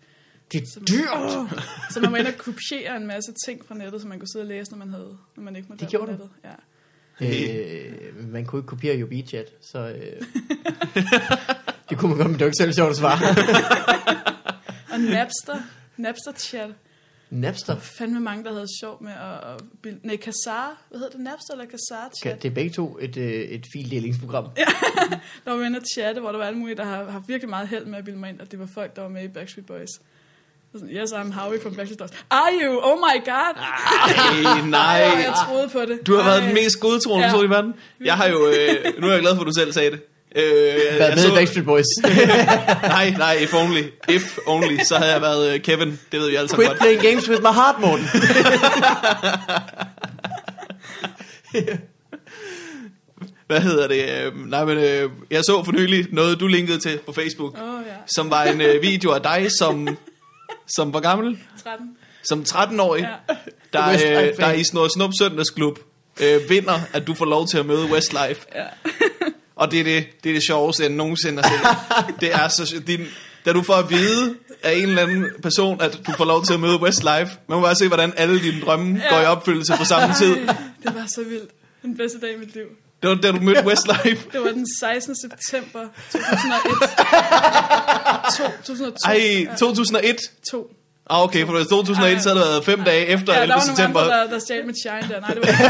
S3: Det er
S2: Så man-
S3: dyrt!
S2: Så man var inde og kopiere en masse ting fra nettet, som man kunne sidde og læse, når man, havde, når man ikke måtte
S3: Det
S2: være på
S3: gjorde du?
S2: nettet. Ja.
S3: Øh, man kunne ikke kopiere YobiChat, så... Øh, det kunne man godt, men det var ikke selv sjovt at svare.
S2: Og Napster, Napster chat.
S3: Napster.
S2: Fandme mange, der havde sjov med at... at bil- Nej, Kassar. Hvad hedder det? Napster eller Kassar
S3: Kan-
S2: chat?
S3: Det er begge to et, øh, et fildelingsprogram.
S2: Der var vi inde og chatte, hvor der var alle mulige, der har, har virkelig meget held med at bilde mig ind, at det var folk, der var med i Backstreet Boys. Og Sådan, yes, I'm Howie from Backstreet Boys. Are you? Oh my god!
S1: Ej, nej.
S2: Ej, jeg troede på det.
S1: Du har været
S2: Ej.
S1: den mest godtroende
S2: Ja.
S1: person i verden. Jeg har jo... Øh, nu er jeg glad for, at du selv sagde det. Øh, jeg,
S3: Været med i Backstreet Boys.
S1: Nej, nej, if only. If only, så havde jeg været øh, Kevin. Det ved vi alle sammen
S3: Quit
S1: godt.
S3: playing games with my heart, Morten.
S1: Hvad hedder det? Øh, nej, men øh, jeg så for nylig noget, du linkede til på Facebook,
S2: Åh, oh, ja.
S1: som var en øh, video af dig, som, som var gammel.
S2: 13.
S1: Som 13-årig,
S2: Ja.
S1: der,
S3: Westlife
S1: øh, der
S3: fan.
S1: i Snor Snup Søndagsklub øh, vinder, at du får lov til at møde Westlife.
S2: Ja.
S1: Og det er det, det, er det sjoveste, jeg nogensinde har set. det er så sj- din, da du får at vide af en eller anden person, at du får lov til at møde Westlife, man må bare se, hvordan alle dine drømme
S2: Ja.
S1: går i opfyldelse på samme tid.
S2: Ej, det var så vildt. Den bedste dag i mit liv.
S1: Det var da du mødte Westlife.
S2: Det var den 16. september 2001. 2002.
S1: Ej, 2001.
S2: To.
S1: Ah, okay, for hvis 2001,
S2: Ej.
S1: så har det været fem dage efter
S2: Ja, der
S1: 11.
S2: var nogle
S1: september.
S2: andre, der, der stjal mit shine der. Nej, det var ikke.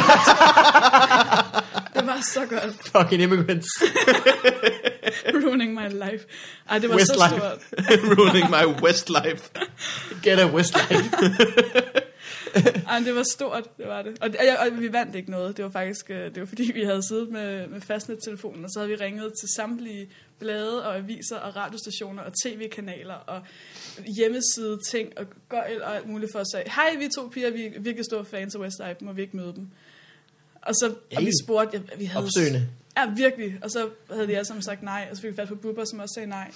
S2: Det var så godt.
S3: Fucking immigrants.
S2: Ruining my life. Ej, det var så
S3: Westlife.
S2: stort.
S1: Ruining my Westlife.
S3: Get a Westlife.
S2: Ej, men det var stort, det var det. Og, og, jeg- og vi vandt ikke noget. Det var faktisk, øh, det var fordi, vi havde siddet med, med fastnettelefonen, og så havde vi ringet til samtlige blade og aviser og radiostationer og tv-kanaler og hjemmeside ting og gøjl og alt muligt for at sige, hej, vi er to piger, vi er virkelig store fans af Westlife, må vi ikke møde dem? Og så og
S3: Hey.
S2: vi spurgte, ja, vi havde...
S3: Opsøgende.
S2: Ja, virkelig. Og så havde de alle sammen sagt nej, og så fik vi fat på Bubber, som også sagde nej.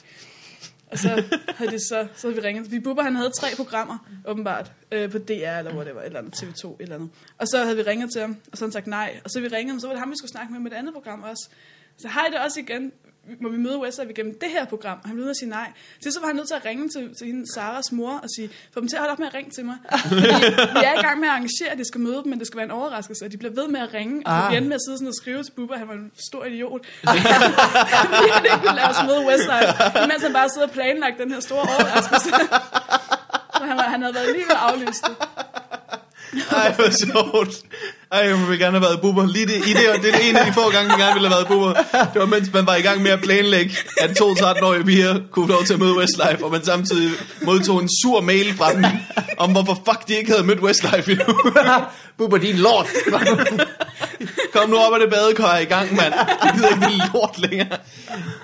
S2: Og så havde, de så, så havde vi ringet. Vi Bubber, han havde tre programmer, åbenbart, øh, på DR eller hvor det var, et eller andet TV2, et eller andet. Og så havde vi ringet til ham, og så havde han sagt nej. Og så havde vi ringet ham, så var det ham, vi skulle snakke med med et andet program også. Så hej, det er også igen. Må vi møde Westlife igennem det her program? Og han blev nødt til at sige nej. Til så var han nødt til at ringe til, til hende, Saras mor og sige, få dem til at holde op med at ringe til mig. Fordi vi er i gang med at arrangere, at de skal møde dem, men det skal være en overraskelse. Og de bliver ved med at ringe, og så
S3: Ah.
S2: vi endte med at sidde sådan og skrive til Bubber, at han var en stor idiot. Fordi han ikke ville lade os møde Westlife, imens han bare sidder og planlagt den her store overraskelse. Så han, var, han havde været lige ved at aflyse det.
S1: Ej, hvor sjovt. Ej, jeg ville gerne have været bubber. Lige det, i det, og det er det ene af de få gange, jeg gerne ville have været bubber. Det var, mens man var i gang med at planlægge, at to 13-årige piger kunne få lov til at møde Westlife, og man samtidig modtog en sur mail fra dem, om hvorfor fuck de ikke havde mødt Westlife endnu.
S3: Bubber, din lort.
S1: Kom nu op af det badekar i gang, mand. Jeg gider ikke det lort længere.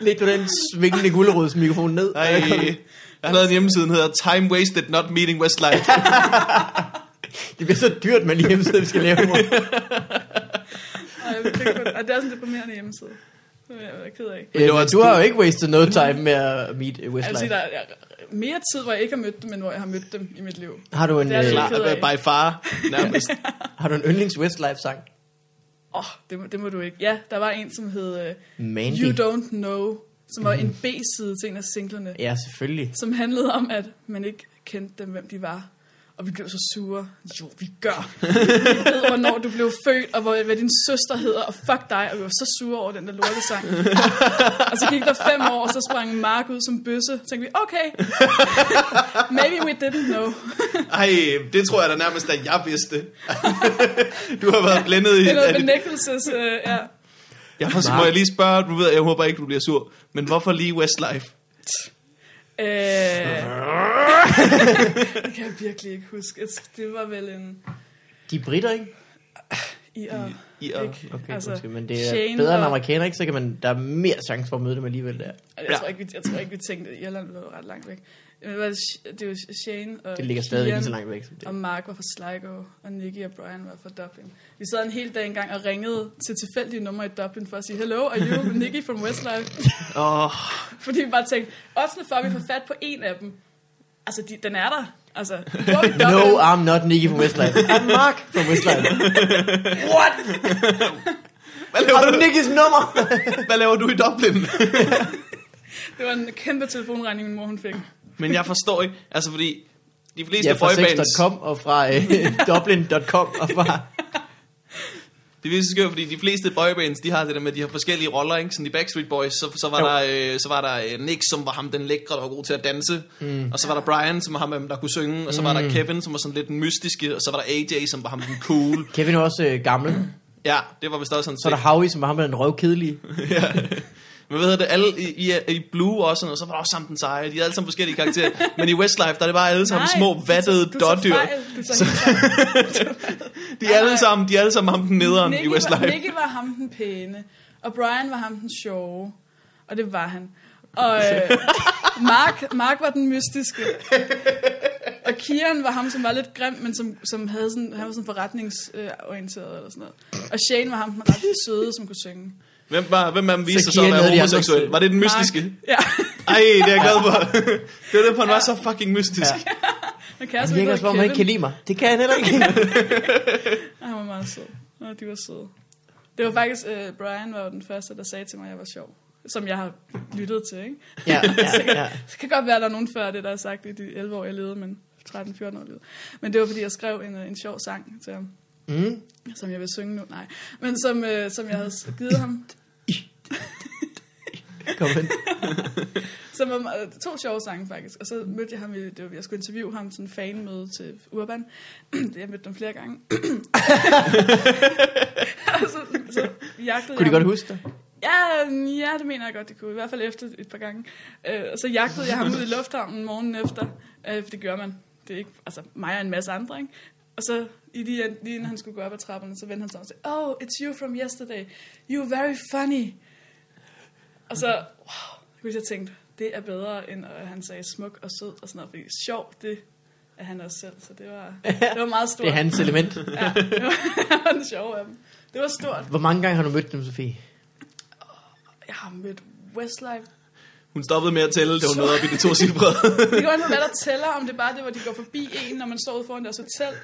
S3: Læg du den svingende gulerodsmikrofon ned.
S1: Ej, jeg har lavet en hjemmeside, der hedder Time Wasted Not Meeting Westlife.
S3: Det bliver så dyrt med en hjemmeside, vi skal lave.
S2: Og, jeg fik kun- og det er sådan en deprimerende hjemmeside. Det er jeg ked af.
S3: Øh,
S1: var
S3: men
S1: et
S3: du har jo ikke wasted no time med at meet øh,
S2: Jeg vil sige,
S3: Westlife.
S2: der er mere tid, hvor jeg ikke har mødt dem, end hvor jeg har mødt dem i mit liv.
S3: Har du en,
S2: Det er
S3: øh,
S2: lidt-
S1: Klar, by far, nærmest.
S3: har du en yndlings Westlife-sang?
S2: Åh, oh, det, må- det må du ikke. Ja, der var en, som hed øh,
S3: Mandy.
S2: You Don't Know, som var en B-side til en af singlerne,
S3: Ja, selvfølgelig.
S2: som handlede om, at man ikke kendte dem, hvem de var. Og vi blev så sure. Jo, vi gør. Vi ved, hvornår du blev født, og hvor, hvad din søster hedder, og fuck dig. Og vi var så sure over den der lortesang. og så gik der fem år, og så sprang Mark ud som bøsse. Så tænkte vi, okay, maybe we didn't know.
S1: Ej, det tror jeg da nærmest, at jeg vidste. du har været blændet i...
S2: Det er noget
S1: at-
S2: benægtelses... Øh, ja.
S1: Jeg må, må jeg lige spørge, du ved, jeg håber ikke, du bliver sur, men hvorfor lige Westlife?
S2: Øh, det kan jeg virkelig ikke huske. Jeg- Det var vel en
S3: De er britter, ikke?
S2: IR.
S1: I, I, og,
S2: Ikke?
S3: Okay,
S2: Altså,
S3: altså, undskyld, men det er
S2: Shane
S3: bedre end
S2: og-
S3: amerikaner, ikke? Så kan man, der er mere chance for at møde dem alligevel der.
S2: Jeg tror ikke, vi, jeg tror ikke, vi tænkte, at Irland lå ret langt væk. Men hvad, er det? Sh- det er jo Shane og
S3: Det ligger stadig
S2: Kian,
S3: lige så langt væk som det.
S2: Og Mark var fra Sligo, og Nicky og Brian var fra Dublin. Vi sad en hel dag engang og ringede til tilfældige numre i Dublin for at sige, Hello, are you Nicky from Westlife?
S1: og,
S2: Fordi vi bare tænkte, oddsene for, at vi får fat på en af dem. Altså, de, den er der. Altså, hvor er vi i Dublin?
S3: No, I'm not Nicky from Westlife. I'm Mark from Westlife. What?
S1: hvad,
S3: Har
S1: laver
S3: du
S1: du,
S3: Nickys nummer?
S1: hvad laver du i Dublin?
S2: Det var en kæmpe telefonregning, min mor hun fik.
S1: Men jeg forstår ikke, altså fordi de fleste
S3: Ja,
S1: ja,
S3: fra
S1: boybands,
S3: 6.com og fra øh, Dublin.com og fra...
S1: det er virkelig skørt, fordi de fleste boybands, de har det der med, at de har forskellige roller, ikke? Sådan i Backstreet Boys, så, så var
S3: Jo.
S1: der, øh, så var der øh, Nick, som var ham den lækre, der var god til at danse, mm. og så var der Brian, som var ham, der kunne synge, og så
S3: Mm.
S1: var der Kevin, som var sådan lidt den mystiske, og så var der AJ, som var ham den cool.
S3: Kevin er også øh, gammel.
S1: ja, det var vist også sådan
S3: Så er der Howie, som var ham med den røvkedelige.
S2: Altså,
S1: ja. Men hvad hedder det, alle i, i, i Blue og sådan noget, så var der også sammen den seje. De er alle sammen forskellige karakterer. Men i Westlife, der er det bare alle sammen
S2: Nej,
S1: små, vattede
S2: du tager
S1: dårdyr.
S2: fejl. Du tager helt fejl.
S1: De er alle sammen, de er alle sammen ham den nederen i
S2: Nicky
S1: Westlife.
S2: Var, Nicky var ham den pæne, og Brian var ham den sjove, og det var han. Og øh, Mark, Mark var den mystiske. Og Kieran var ham, som var lidt grim, men som, som havde sådan, han var sådan forretningsorienteret eller sådan noget. Og Shane var ham, den ret søde, som kunne synge.
S1: Hvem var, hvem man viste
S3: Så
S1: sig så
S3: Kian
S1: at være
S3: havde de andre
S1: homoseksuel?
S3: selv.
S1: Var det den
S2: Mark-
S1: mystiske?
S2: Ja,
S1: Ej, det er jeg glad for. det var derfor, han var så fucking mystisk. Ja.
S2: han kan
S3: Han
S2: også
S3: virker også, om han ikke kan lide mig. Det kan han heller ikke.
S2: Ah, Han var meget sød. Og de var søde. Det var faktisk, øh, Brian var jo den første, der sagde til mig, at jeg var sjov. Som jeg har lyttet til, ikke?
S3: ja, ja, ja.
S2: Det kan godt være, at der er nogen før det, der har sagt det i de 11 år, jeg levede, men 13-14 år levede. Men det var, fordi jeg skrev en, øh, en sjov sang til ham,
S3: Mm.
S2: som jeg vil synge nu. Nej, men som, øh, som jeg havde s- givet ham.
S3: Kom ind.
S2: Som var meget- to sjove sange, faktisk. Og så mødte jeg ham, i, det var, jeg skulle interviewe ham sådan en fanmøde til Urban. Det, jeg mødte dem flere gange. og så, så jagtede
S3: Kunne
S2: jeg
S3: de godt
S2: ham.
S3: huske dig?
S2: Ja, øhm, ja, det mener jeg godt, det kunne. I hvert fald efter et par gange. Øh, og så jagtede jeg ham ud i lufthavnen morgenen efter. Øh, for det gør man. Det er ikke, altså mig og en masse andre, ikke? Og så i lige, lige inden han skulle gå op ad trapperne, så vendte han sig om og sagde, Oh, it's you from yesterday. You're very funny. Og så, wow, kunne jeg tænkte, det er bedre, end at han sagde smuk og sød og sådan noget. Fordi sjov, det er han også selv. Så det var, det var meget stort.
S3: Det er hans element.
S2: Ja, det var, det var den sjove af dem. Det var stort.
S3: Hvor mange gange har du mødt dem, Sofie?
S2: Jeg har mødt Westlife
S1: Hun stoppede med at tælle, da hun nåede op i det to cifrede.
S2: Det kan godt være, hvad der tæller, om det er bare det, hvor de går forbi en, når man står ude foran deres hotel,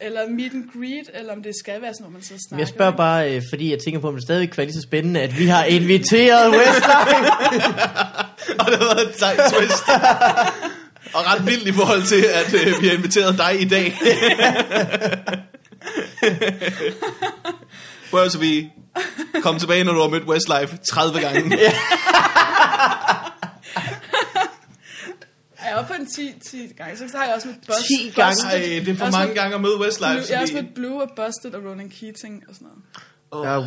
S2: eller meet and greet, eller om det skal være sådan, hvor man så
S3: Men
S2: snakker.
S3: jeg spørger bare, øh, fordi jeg tænker på, om det stadigvæk kan være lige så spændende, at vi har inviteret Westlife.
S1: og det var et sejt twist. og ret vildt i forhold til, at øh, vi har inviteret dig i dag. Prøv at vi kom tilbage, når du har mødt Westlife 30 gange.
S2: Jeg er oppe på en 10, 10 gange, så har jeg også med Bust,
S3: 10 gange?
S1: Ej, det er for mange gange at møde Westlife.
S2: Blue, jeg
S1: Så
S2: har også
S1: vi,
S2: med Blue og Busted og Ronan Keating og sådan noget.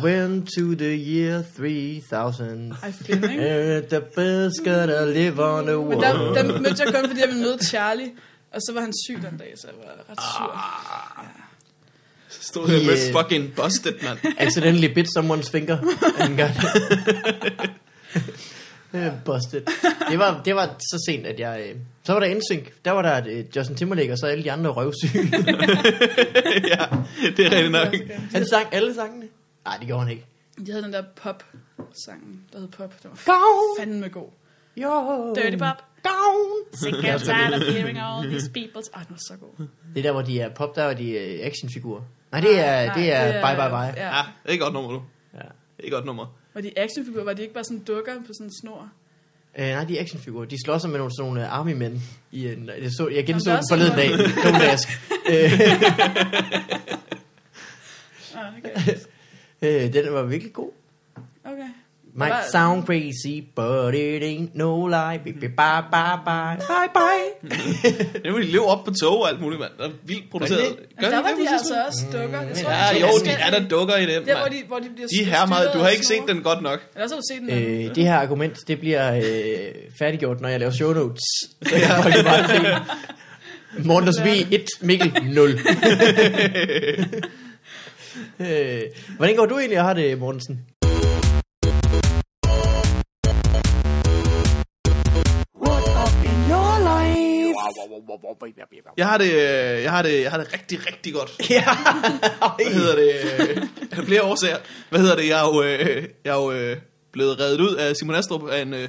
S3: I went to the year 3000.
S2: Ej, fedt, ikke?
S3: And the best gonna live on the
S2: Men der,
S3: world.
S2: der mødte jeg kun, fordi jeg ville møde Charlie, og så var han syg den dag, så jeg var ret sur.
S1: stod her
S3: Yeah.
S1: med fucking busted, mand.
S3: Accidentally bit someone's finger. And got Øh, Busted. Det var, det var så sent, at jeg... øh, Så var der NSYNC. Der var der et, øh, Justin Timberlake, og så alle de andre røvsyge.
S1: ja, det er rigtigt nok.
S3: Han sang alle sangene. Nej, det gjorde han ikke.
S2: De havde den der pop-sang, der hed pop. Det var
S3: Down,
S2: fandme god.
S3: yo,
S2: Dirty Bob.
S3: down.
S2: Sick and tired of hearing all these people. Ej, den var så god.
S3: Det er der, hvor de er pop, der er de øh, actionfigurer. Ah, Nej, det er,
S2: Nej,
S3: det er, bye bye bye.
S2: Ja.
S1: Ja, det er et godt nummer, du.
S3: Ja.
S1: Det er et godt nummer.
S2: Var de actionfigurer? Var de ikke bare sådan dukker på sådan en snor?
S3: Øh, nej, de er actionfigurer. De slår sig med nogle sådan nogle øh, army-mænd. I en, jeg, så, jeg
S2: Jamen,
S3: genså
S2: der
S3: den
S2: er også
S3: forleden dag.
S2: sådan
S3: Dumbask.
S2: Ah, okay. Ah,
S3: Øh, den var virkelig god.
S2: okay.
S3: Might
S2: Hvad?
S3: sound crazy, but it ain't no lie. Bye, bye, bye, bye, bye, bye.
S1: Nu vil de leve op på tog og alt muligt, mand. Der er vildt produceret.
S3: det?
S2: Men der var
S1: det på
S2: de
S1: tidspunkt?
S2: altså også dukker. Jeg tror,
S1: Ja,
S2: de
S1: jo,
S2: er
S1: de er der dukker i dem,
S2: Der, hvor
S1: mand.
S2: de, hvor de bliver
S1: De her meget,
S2: styret
S1: du har
S2: af
S1: ikke set
S2: snore.
S1: den godt nok.
S2: Ellers har du
S1: Mm.
S2: set den. anden.
S3: Øh, det her argument, det bliver øh, færdiggjort, når jeg laver show notes. Så kan folk jo bare se. Morten og Sofie 1, Mikkel 0. øh, hvordan går du egentlig og har det, Mortensen?
S4: What up in your life?
S1: Jeg har det, øh, jeg har det, jeg har det rigtig, rigtig godt.
S3: Ja.
S1: Hvad hedder det? øh, Af flere årsager. Hvad hedder det? Jeg er jo, øh, jeg er jo øh, blevet reddet ud af Simon Astrup af en, øh,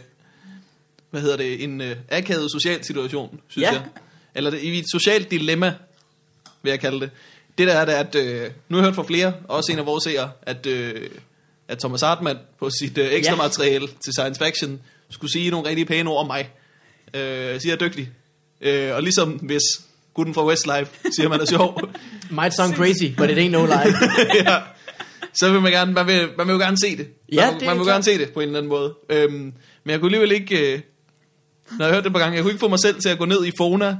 S1: hvad hedder det, en øh, akavet social situation, synes
S3: Ja.
S1: jeg. Eller det, i et socialt dilemma, vil jeg kalde det. Det der er, det er, at øh, nu har jeg hørt fra flere, og også en af vores seere, at, øh, at Thomas Hartmann på sit øh, ekstra
S3: Ja.
S1: materiale til Science Faction skulle sige nogle rigtig pæne ord om mig. Øh, siger, jeg er dygtig. Øh, og ligesom hvis gutten fra Westlife siger, man er sjov,
S3: Might sound crazy, but it ain't no lie.
S1: ja. Så vil man gerne, man vil, man vil jo gerne se det. Man,
S3: Ja,
S1: vil-
S3: det er
S1: man vil
S3: klart.
S1: gerne se det på en eller anden måde. Øhm, men jeg kunne alligevel ikke, øh, når jeg hørte det på gang, jeg kunne ikke få mig selv til at gå ned i Fona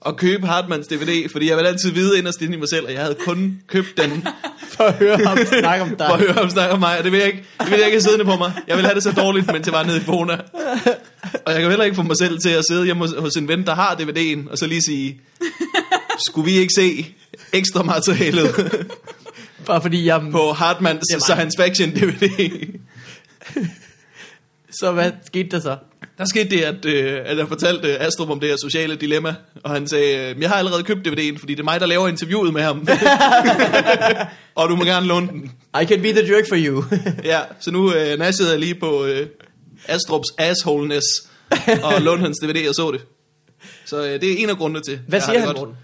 S1: og købe Hartmans DVD, fordi jeg ville altid vide inderst inde i mig selv, at jeg havde kun købt den
S3: For at høre ham snakke om dig.
S1: for at høre ham snakke om mig, og det vil jeg ikke, det vil jeg ikke have siddende på mig. Jeg vil have det så dårligt, mens jeg var nede i Fona. Og jeg kan heller ikke få mig selv til at sidde hjemme hos, hos en ven, der har DVD'en, og så lige sige, skulle vi ikke se ekstra materialet?
S3: Bare fordi jeg...
S1: på Hartmans
S3: Det er mig.
S1: Science Fiction DVD.
S3: Så hvad skete der så?
S1: Der skete det, at, øh, at jeg fortalte øh, Astrup om det her sociale dilemma, og han sagde, øh, jeg har allerede købt DVD'en, fordi det er mig, der laver interviewet med ham. og du må gerne låne den.
S3: I can be the jerk for you.
S1: Ja, så nu øh, nassede jeg lige på øh, Astrups assholeness, og lånte hans DVD og så det. Så øh, det er en af grundene til.
S3: Hvad
S1: jeg har
S3: siger
S1: det
S3: han,
S1: godt.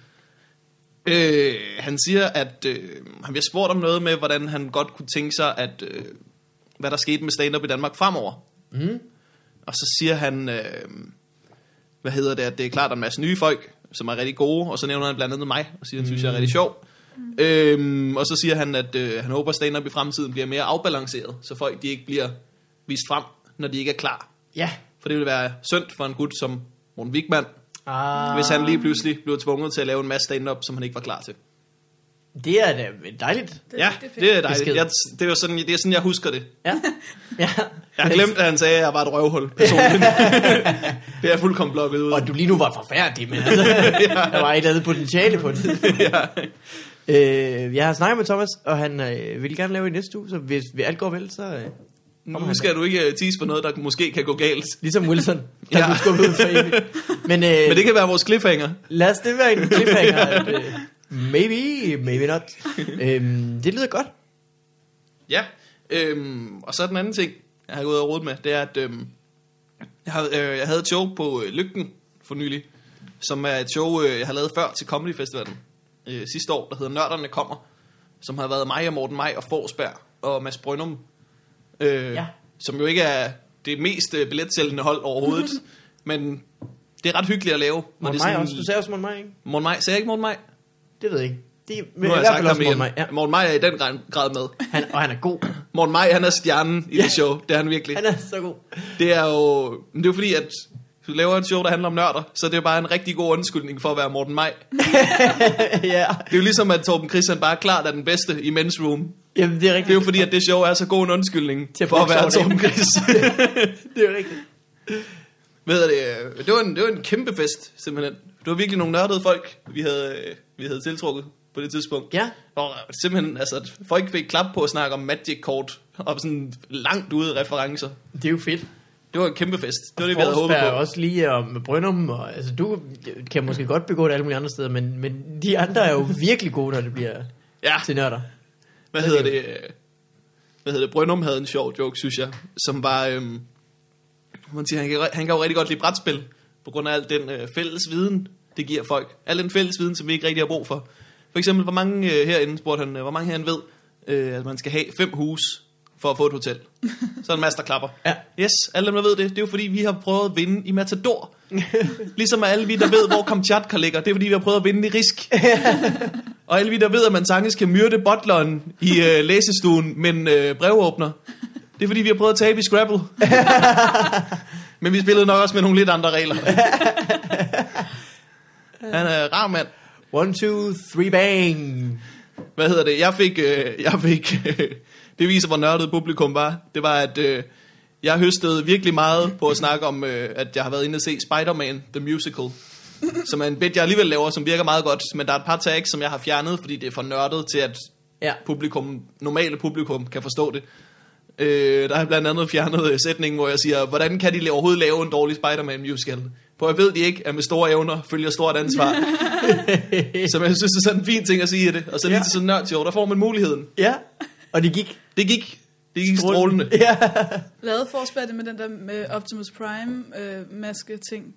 S3: Morten?
S1: Øh, han siger, at øh, han bliver spurgt om noget med, hvordan han godt kunne tænke sig, at øh, hvad der skete med stand-up i Danmark fremover. Mm. Og så siger han, øh, hvad hedder det, at det er klart, at der er en masse nye folk, som er rigtig gode, og så nævner han blandt andet mig, og siger, at han synes, jeg er rigtig sjov. Øhm, og så siger han, at øh, han håber, at stand-up i fremtiden bliver mere afbalanceret, så folk de ikke bliver vist frem, når de ikke er klar.
S3: Ja.
S1: For det ville være synd for en gut som Morten Wigman,
S3: Ah,
S1: hvis han lige pludselig blev tvunget til at lave en masse stand-up, som han ikke var klar til.
S3: det er da dejligt.
S2: Det-
S1: Ja,
S2: det er fedt.
S1: det er
S3: Besked.
S1: dejligt. Jeg, det, var sådan, det er sådan, jeg husker det.
S3: Ja. ja.
S1: Jeg har glemt, at han sagde, at jeg var et røvhul personligt. det er jeg fuldkommen blokket ud.
S3: Og du lige nu var forfærdelig, men altså, der var et eller andet potentiale på det. ja. øh, jeg har snakket med Thomas, og han øh, vil gerne lave i næste uge, så hvis alt går vel, så... Øh,
S1: Nu skal du ikke øh, tease på noget, der måske kan gå galt.
S3: ligesom Wilson, der ja.
S1: Ja.
S3: blev skubbet ud for evigt. Men, øh,
S1: Men det kan være vores cliffhanger.
S3: lad os det være en cliffhanger. at, øh, maybe, maybe not. øhm, det lyder godt.
S1: Ja. Øhm, og så den anden ting, jeg har gået og rodet med, det er, at øhm, jeg, har, øh, jeg havde et show på øh, Lygten for nylig, som er et show, øh, jeg har lavet før til Comedy Festivalen øh, sidste år, der hedder Nørderne Kommer, som har været mig og Morten Maj og Forsberg og Mads Brønum, øh,
S3: Ja.
S1: ja. som jo ikke er det mest øh, billetsælgende hold overhovedet, men det er ret hyggeligt at lave. og det
S3: Morten
S1: er
S3: Maj
S1: sådan-
S3: også. Du sagde også Morten Maj, ikke?
S1: Morten Maj, sagde jeg ikke Morten Maj?
S3: Det ved jeg ikke. Det, men
S1: Nu
S3: i
S1: har jeg
S3: hvert
S1: sagt
S3: fald
S1: ham
S3: også Morten
S1: igen.
S3: Maj. Ja.
S1: Morten Maj er i den grad- grad med.
S3: Han, og han er god.
S1: Morten Maj, han er stjernen i det show. Det er han virkelig.
S3: Han er så god.
S1: Det er jo... Men det er jo fordi, at du laver et show, der handler om nørder, så det er jo bare en rigtig god undskyldning for at være Morten Maj. Det
S3: ja.
S1: er jo ligesom, at Torben Christian bare klart er den bedste i Men's Room.
S3: Jamen, det er
S1: Det er
S3: rigtigt.
S1: jo fordi, at det show er så god en undskyldning
S3: Til at
S1: for at
S3: fuck
S1: være
S3: sjovt af.
S1: Torben Chris.
S3: det er rigtigt.
S1: Ved det, det, var en, det var en kæmpe fest, simpelthen. Det var virkelig nogle nørdede folk, vi havde, øh, vi havde tiltrukket på det tidspunkt.
S3: Ja.
S1: Og simpelthen, altså, at folk fik klap på at snakke om Magic-kort, og sådan langt ude referencer.
S3: Det er jo fedt.
S1: Det var en kæmpe fest. Det var det, vi havde håbet
S3: Forsberg er
S1: på.
S3: også lige om Brøndum, og altså, du kan måske godt begå det alle mulige andre steder, men, men de andre er jo virkelig gode, når det bliver
S1: Ja.
S3: til nørder.
S1: hvad hedder det? øh, Hvad hedder det? Brøndum havde en sjov joke, synes jeg, som var, øhm, man siger, han kan, han kan jo rigtig godt lide brætspil, på grund af al den øh, fælles viden, det giver folk. Al den fælles viden, som vi ikke rigtig har brug for. For eksempel, hvor mange øh, herinde, spurgte han, øh, hvor mange herinde ved, øh, at man skal have fem hus for at få et hotel. Så er der en masse, der klapper.
S3: Ja.
S1: Yes, alle dem, der ved det, det er jo fordi, vi har prøvet at vinde i Matador. ligesom alle vi, der ved, hvor Kamchatka ligger, det er fordi, vi har prøvet at vinde i Risk. Og alle vi, der ved, at man sagtens kan myrde butleren i øh, læsestuen, men øh, brevåbner. Det er fordi, vi har prøvet at tabe i Scrabble. Men vi spillede nok også med nogle lidt andre regler. Han er rar mand.
S3: One, two, three, bang.
S1: Hvad hedder det? Jeg fik... Øh, jeg fik øh, det viser, hvor nørdet publikum var. Det var, at øh, jeg høstede virkelig meget på at snakke om, øh, at jeg har været inde og se Spider-Man The Musical. Som er en bit, jeg alligevel laver, som virker meget godt. Men der er et par tags, som jeg har fjernet, fordi det er for nørdet til, at
S3: Ja.
S1: publikum, normale publikum kan forstå det. Øh, der har jeg blandt andet fjernet øh, sætningen, hvor jeg siger, hvordan kan de la- overhovedet lave en dårlig Spider-Man musical? For jeg ved de ikke, at med store evner følger stort ansvar. Som jeg synes er sådan en fin ting at sige i det. Og så lige
S3: Ja.
S1: til sådan en nørdjov, der får man muligheden.
S3: ja. Og det gik
S1: Det gik. Det gik strålende.
S3: Ja.
S2: Lavede forspillet med den der med Optimus Prime-maske-ting.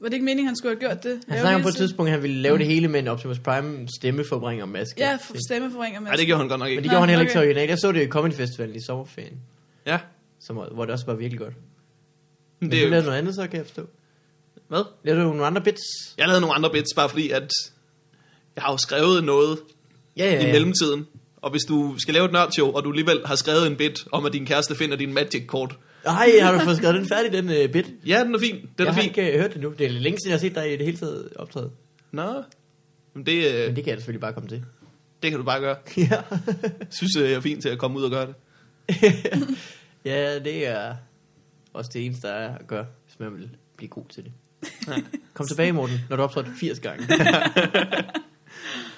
S2: var det ikke meningen, han skulle have gjort det?
S3: Han
S2: Lave
S3: snakker om
S2: hele
S3: på et
S2: tiden?
S3: tidspunkt, at han ville lave det hele med en Optimus Prime stemmeforbringer maske.
S2: Ja, for stemmeforringer
S1: Nej, det gjorde han godt nok
S3: Men
S1: ikke.
S3: det gjorde han heller ikke
S2: okay.
S3: så originalt. Jeg så det i Comedy Festivalen i sommerferien,
S1: Ja.
S3: som, hvor det også var virkelig godt. Men
S1: Men
S3: det, du lavede
S1: det,
S3: noget andet, så kan jeg forstå.
S1: hvad?
S3: Lavede du nogle andre bits?
S1: Jeg lavede nogle andre bits, bare fordi, at jeg har jo skrevet noget
S3: Ja,
S1: i mellemtiden. Og hvis du skal lave et nørdshow, og du alligevel har skrevet en bit om, at din kæreste finder din magic-kort,
S3: Ej, har du fået skrevet den færdig, den uh, bit?
S1: Ja, den er fin. Den
S3: jeg
S1: er
S3: har
S1: fin.
S3: ikke øh, hørt det nu. Det er længe siden, jeg har set dig i det hele taget optræde.
S1: Nå. Men det, øh,
S3: Men det kan jeg selvfølgelig bare komme til.
S1: det kan du bare gøre.
S3: ja.
S1: Jeg synes, øh, jeg er fint til at komme ud og gøre det.
S3: ja, det er også det eneste, der er at gøre, hvis man vil blive god til det. Kom tilbage, Morten, når du har optrådt 80 gange.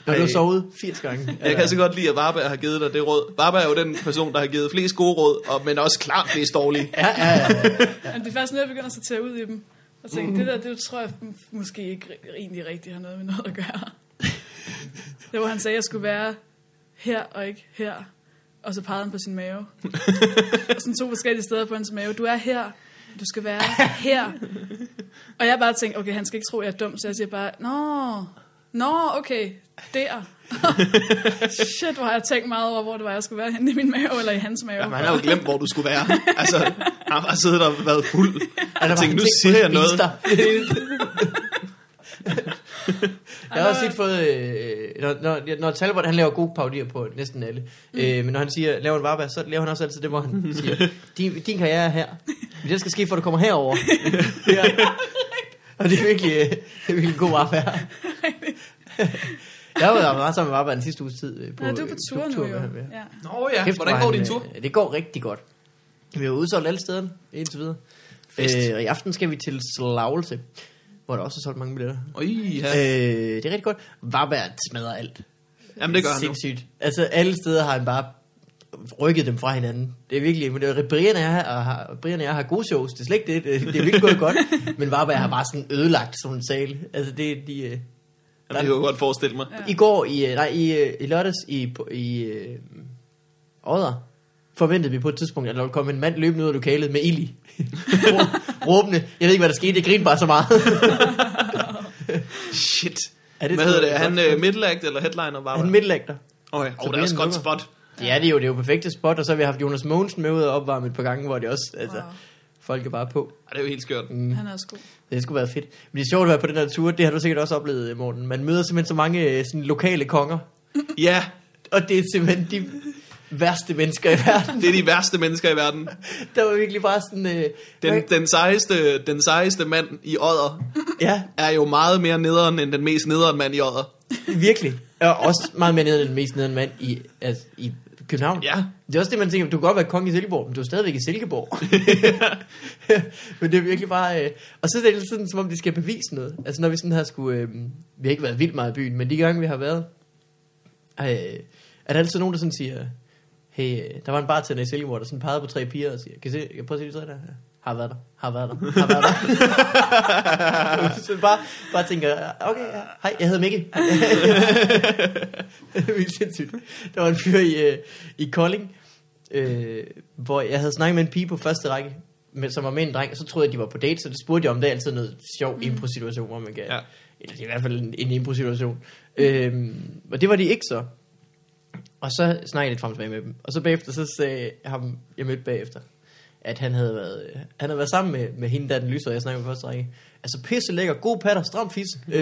S3: når du har
S1: Ej.
S3: sovet 80 gange.
S1: Jeg kan altså så godt lide, at Varberg har givet dig det råd. Varberg er jo den person, der har givet flest gode råd, og, men også klart flest dårlige.
S3: Ja, ja, ja.
S2: Jamen, det er faktisk noget, jeg begynder at sortere ud i dem. Og tænke, mm. det der, det tror jeg m- måske ikke ri- egentlig rigtig har noget med noget at gøre. det var, han sagde, at jeg skulle være her og ikke her. Og så pegede han på sin mave. og sådan to forskellige steder på hans mave. Du er her, du skal være her. Og jeg bare tænkte, okay, han skal ikke tro, jeg er dum, så jeg siger bare, nå, nå, okay, der. Shit, hvor har jeg tænkt meget over, hvor det var, jeg skulle være henne i min mave, eller i hans mave.
S1: Jamen, han har jo glemt, hvor du skulle være. Altså, han har bare siddet og været fuld.
S3: Og der
S1: Jeg
S3: var
S1: tænkte,
S3: en
S1: nu
S3: ting,
S1: siger
S3: hun
S1: jeg noget.
S3: spiste dig. jeg har også tit fået, øh, når, når, når Talbot han laver gode parodier på næsten alle, mm. øh, men når han siger, laver en varba, så laver han også altid det, hvor
S2: Mm.
S3: han siger, din, din karriere er her, men det skal ske, for du kommer herover. ja. Og det er virkelig, øh, det er virkelig en god varba. jeg har været meget sammen med varba den sidste uges tid. øh, På,
S2: Ja, du er
S3: øh,
S2: på tur nu
S3: med
S2: jo.
S3: ham, ja.
S2: Ja.
S1: Nå ja,
S3: Kæft,
S1: hvordan
S3: hvor
S1: går
S3: han,
S1: din tur?
S3: øh, Det går rigtig godt. Vi har udsolgt alle stederne indtil videre.
S1: Fest.
S3: Øh, og i aften skal vi til Slagelse, hvor der også er solgt mange billetter.
S1: Oj,
S3: Ja.
S1: ja.
S3: Øh, det er rigtig godt. Varberg smadrer alt.
S1: Jamen, det gør han jo.
S3: Sindssygt. Altså, alle steder har han bare rykket dem fra hinanden. Det er virkelig, men det er, Brian, og jeg, har- har, Brian og jeg har gode shows, det er slet ikke det, det, det er virkelig gået godt, men Varberg har bare sådan ødelagt sådan en sal. Altså, det, de, øh,
S1: Jamen, det kan jeg godt forestille mig.
S3: i går, i, øh, nej, i, øh, i lørdags i, på- i øh, Odder, forventede vi på et tidspunkt, at der ville komme en mand løbende ud af lokalet med ild i. Rå- Råbende. Jeg ved ikke, hvad der skete. Jeg grinede bare så meget.
S1: Shit.
S3: Ja, det
S1: Hvad
S3: tror
S1: hedder
S3: jeg
S1: det?
S3: er
S1: Er han
S3: godt.
S1: øh, middelagt eller headliner,
S3: Han
S1: Varberg?
S3: midtlægter.
S1: Okay, og det er
S3: Brian
S1: også et godt
S3: lukker.
S1: spot.
S3: Ja, det er jo det er jo perfekte spot, og så har vi haft Jonas Mogensen med ud og opvarme et par gange, hvor det også, altså,
S2: Wow.
S3: folk er bare på.
S1: Ja, det er jo helt skørt.
S3: Mm.
S2: Han er også god.
S3: Det skulle være fedt. Men det er sjovt at være på den her tur, det har du sikkert også oplevet, Morten. Man møder simpelthen så mange øh, sådan, lokale konger,
S1: Ja,
S3: og det er simpelthen de værste mennesker i verden.
S1: det er de værste mennesker i verden.
S3: Der var virkelig bare sådan... Øh,
S1: Den, den, sejeste, den sejeste mand i Odder
S3: Ja,
S1: er jo meget mere nederen end den mest nederen mand i Odder.
S3: Virkelig. Og også meget mere nederen end den mest nederen mand i, altså, i København.
S1: Ja.
S3: Det er også det, man tænker, du kan godt være konge i Silkeborg, men du er stadigvæk i Silkeborg. men det er virkelig bare... Øh... Og så er det hele tiden, som om de skal bevise noget. Altså når vi sådan her skulle... Øh... Vi har ikke været vildt meget i byen, men de gange, vi har været, øh... er der altid nogen, der sådan siger, hey, øh, der var en bartender i Silkeborg, der sådan pegede på tre piger og siger, kan, I se, kan jeg prøve at se de tre der? Ja. Har været der, har været der, har været der. så bare, bare tænker, okay, ja. hej, jeg hedder Mikkel. det er vildt sindssygt. Der var en fyr i, øh, i Kolding, øh, hvor jeg havde snakket med en pige på første række, men, som var med en dreng, og så troede jeg, de var på date, så det spurgte jeg om, det er altid noget sjov mm. impro-situation, hvor man kan,
S1: Ja.
S3: ja. eller det er i hvert fald en, en impro-situation. Øhm, og det var de ikke så. Og så snakkede jeg lidt frem og tilbage med dem. Og så bagefter, så sagde ham, jeg mødte bagefter, at han havde været, øh, han havde været sammen med, med hende, der er den lyser, jeg snakkede med første række. Altså pisse lækker, god patter, stram fisse. Øh,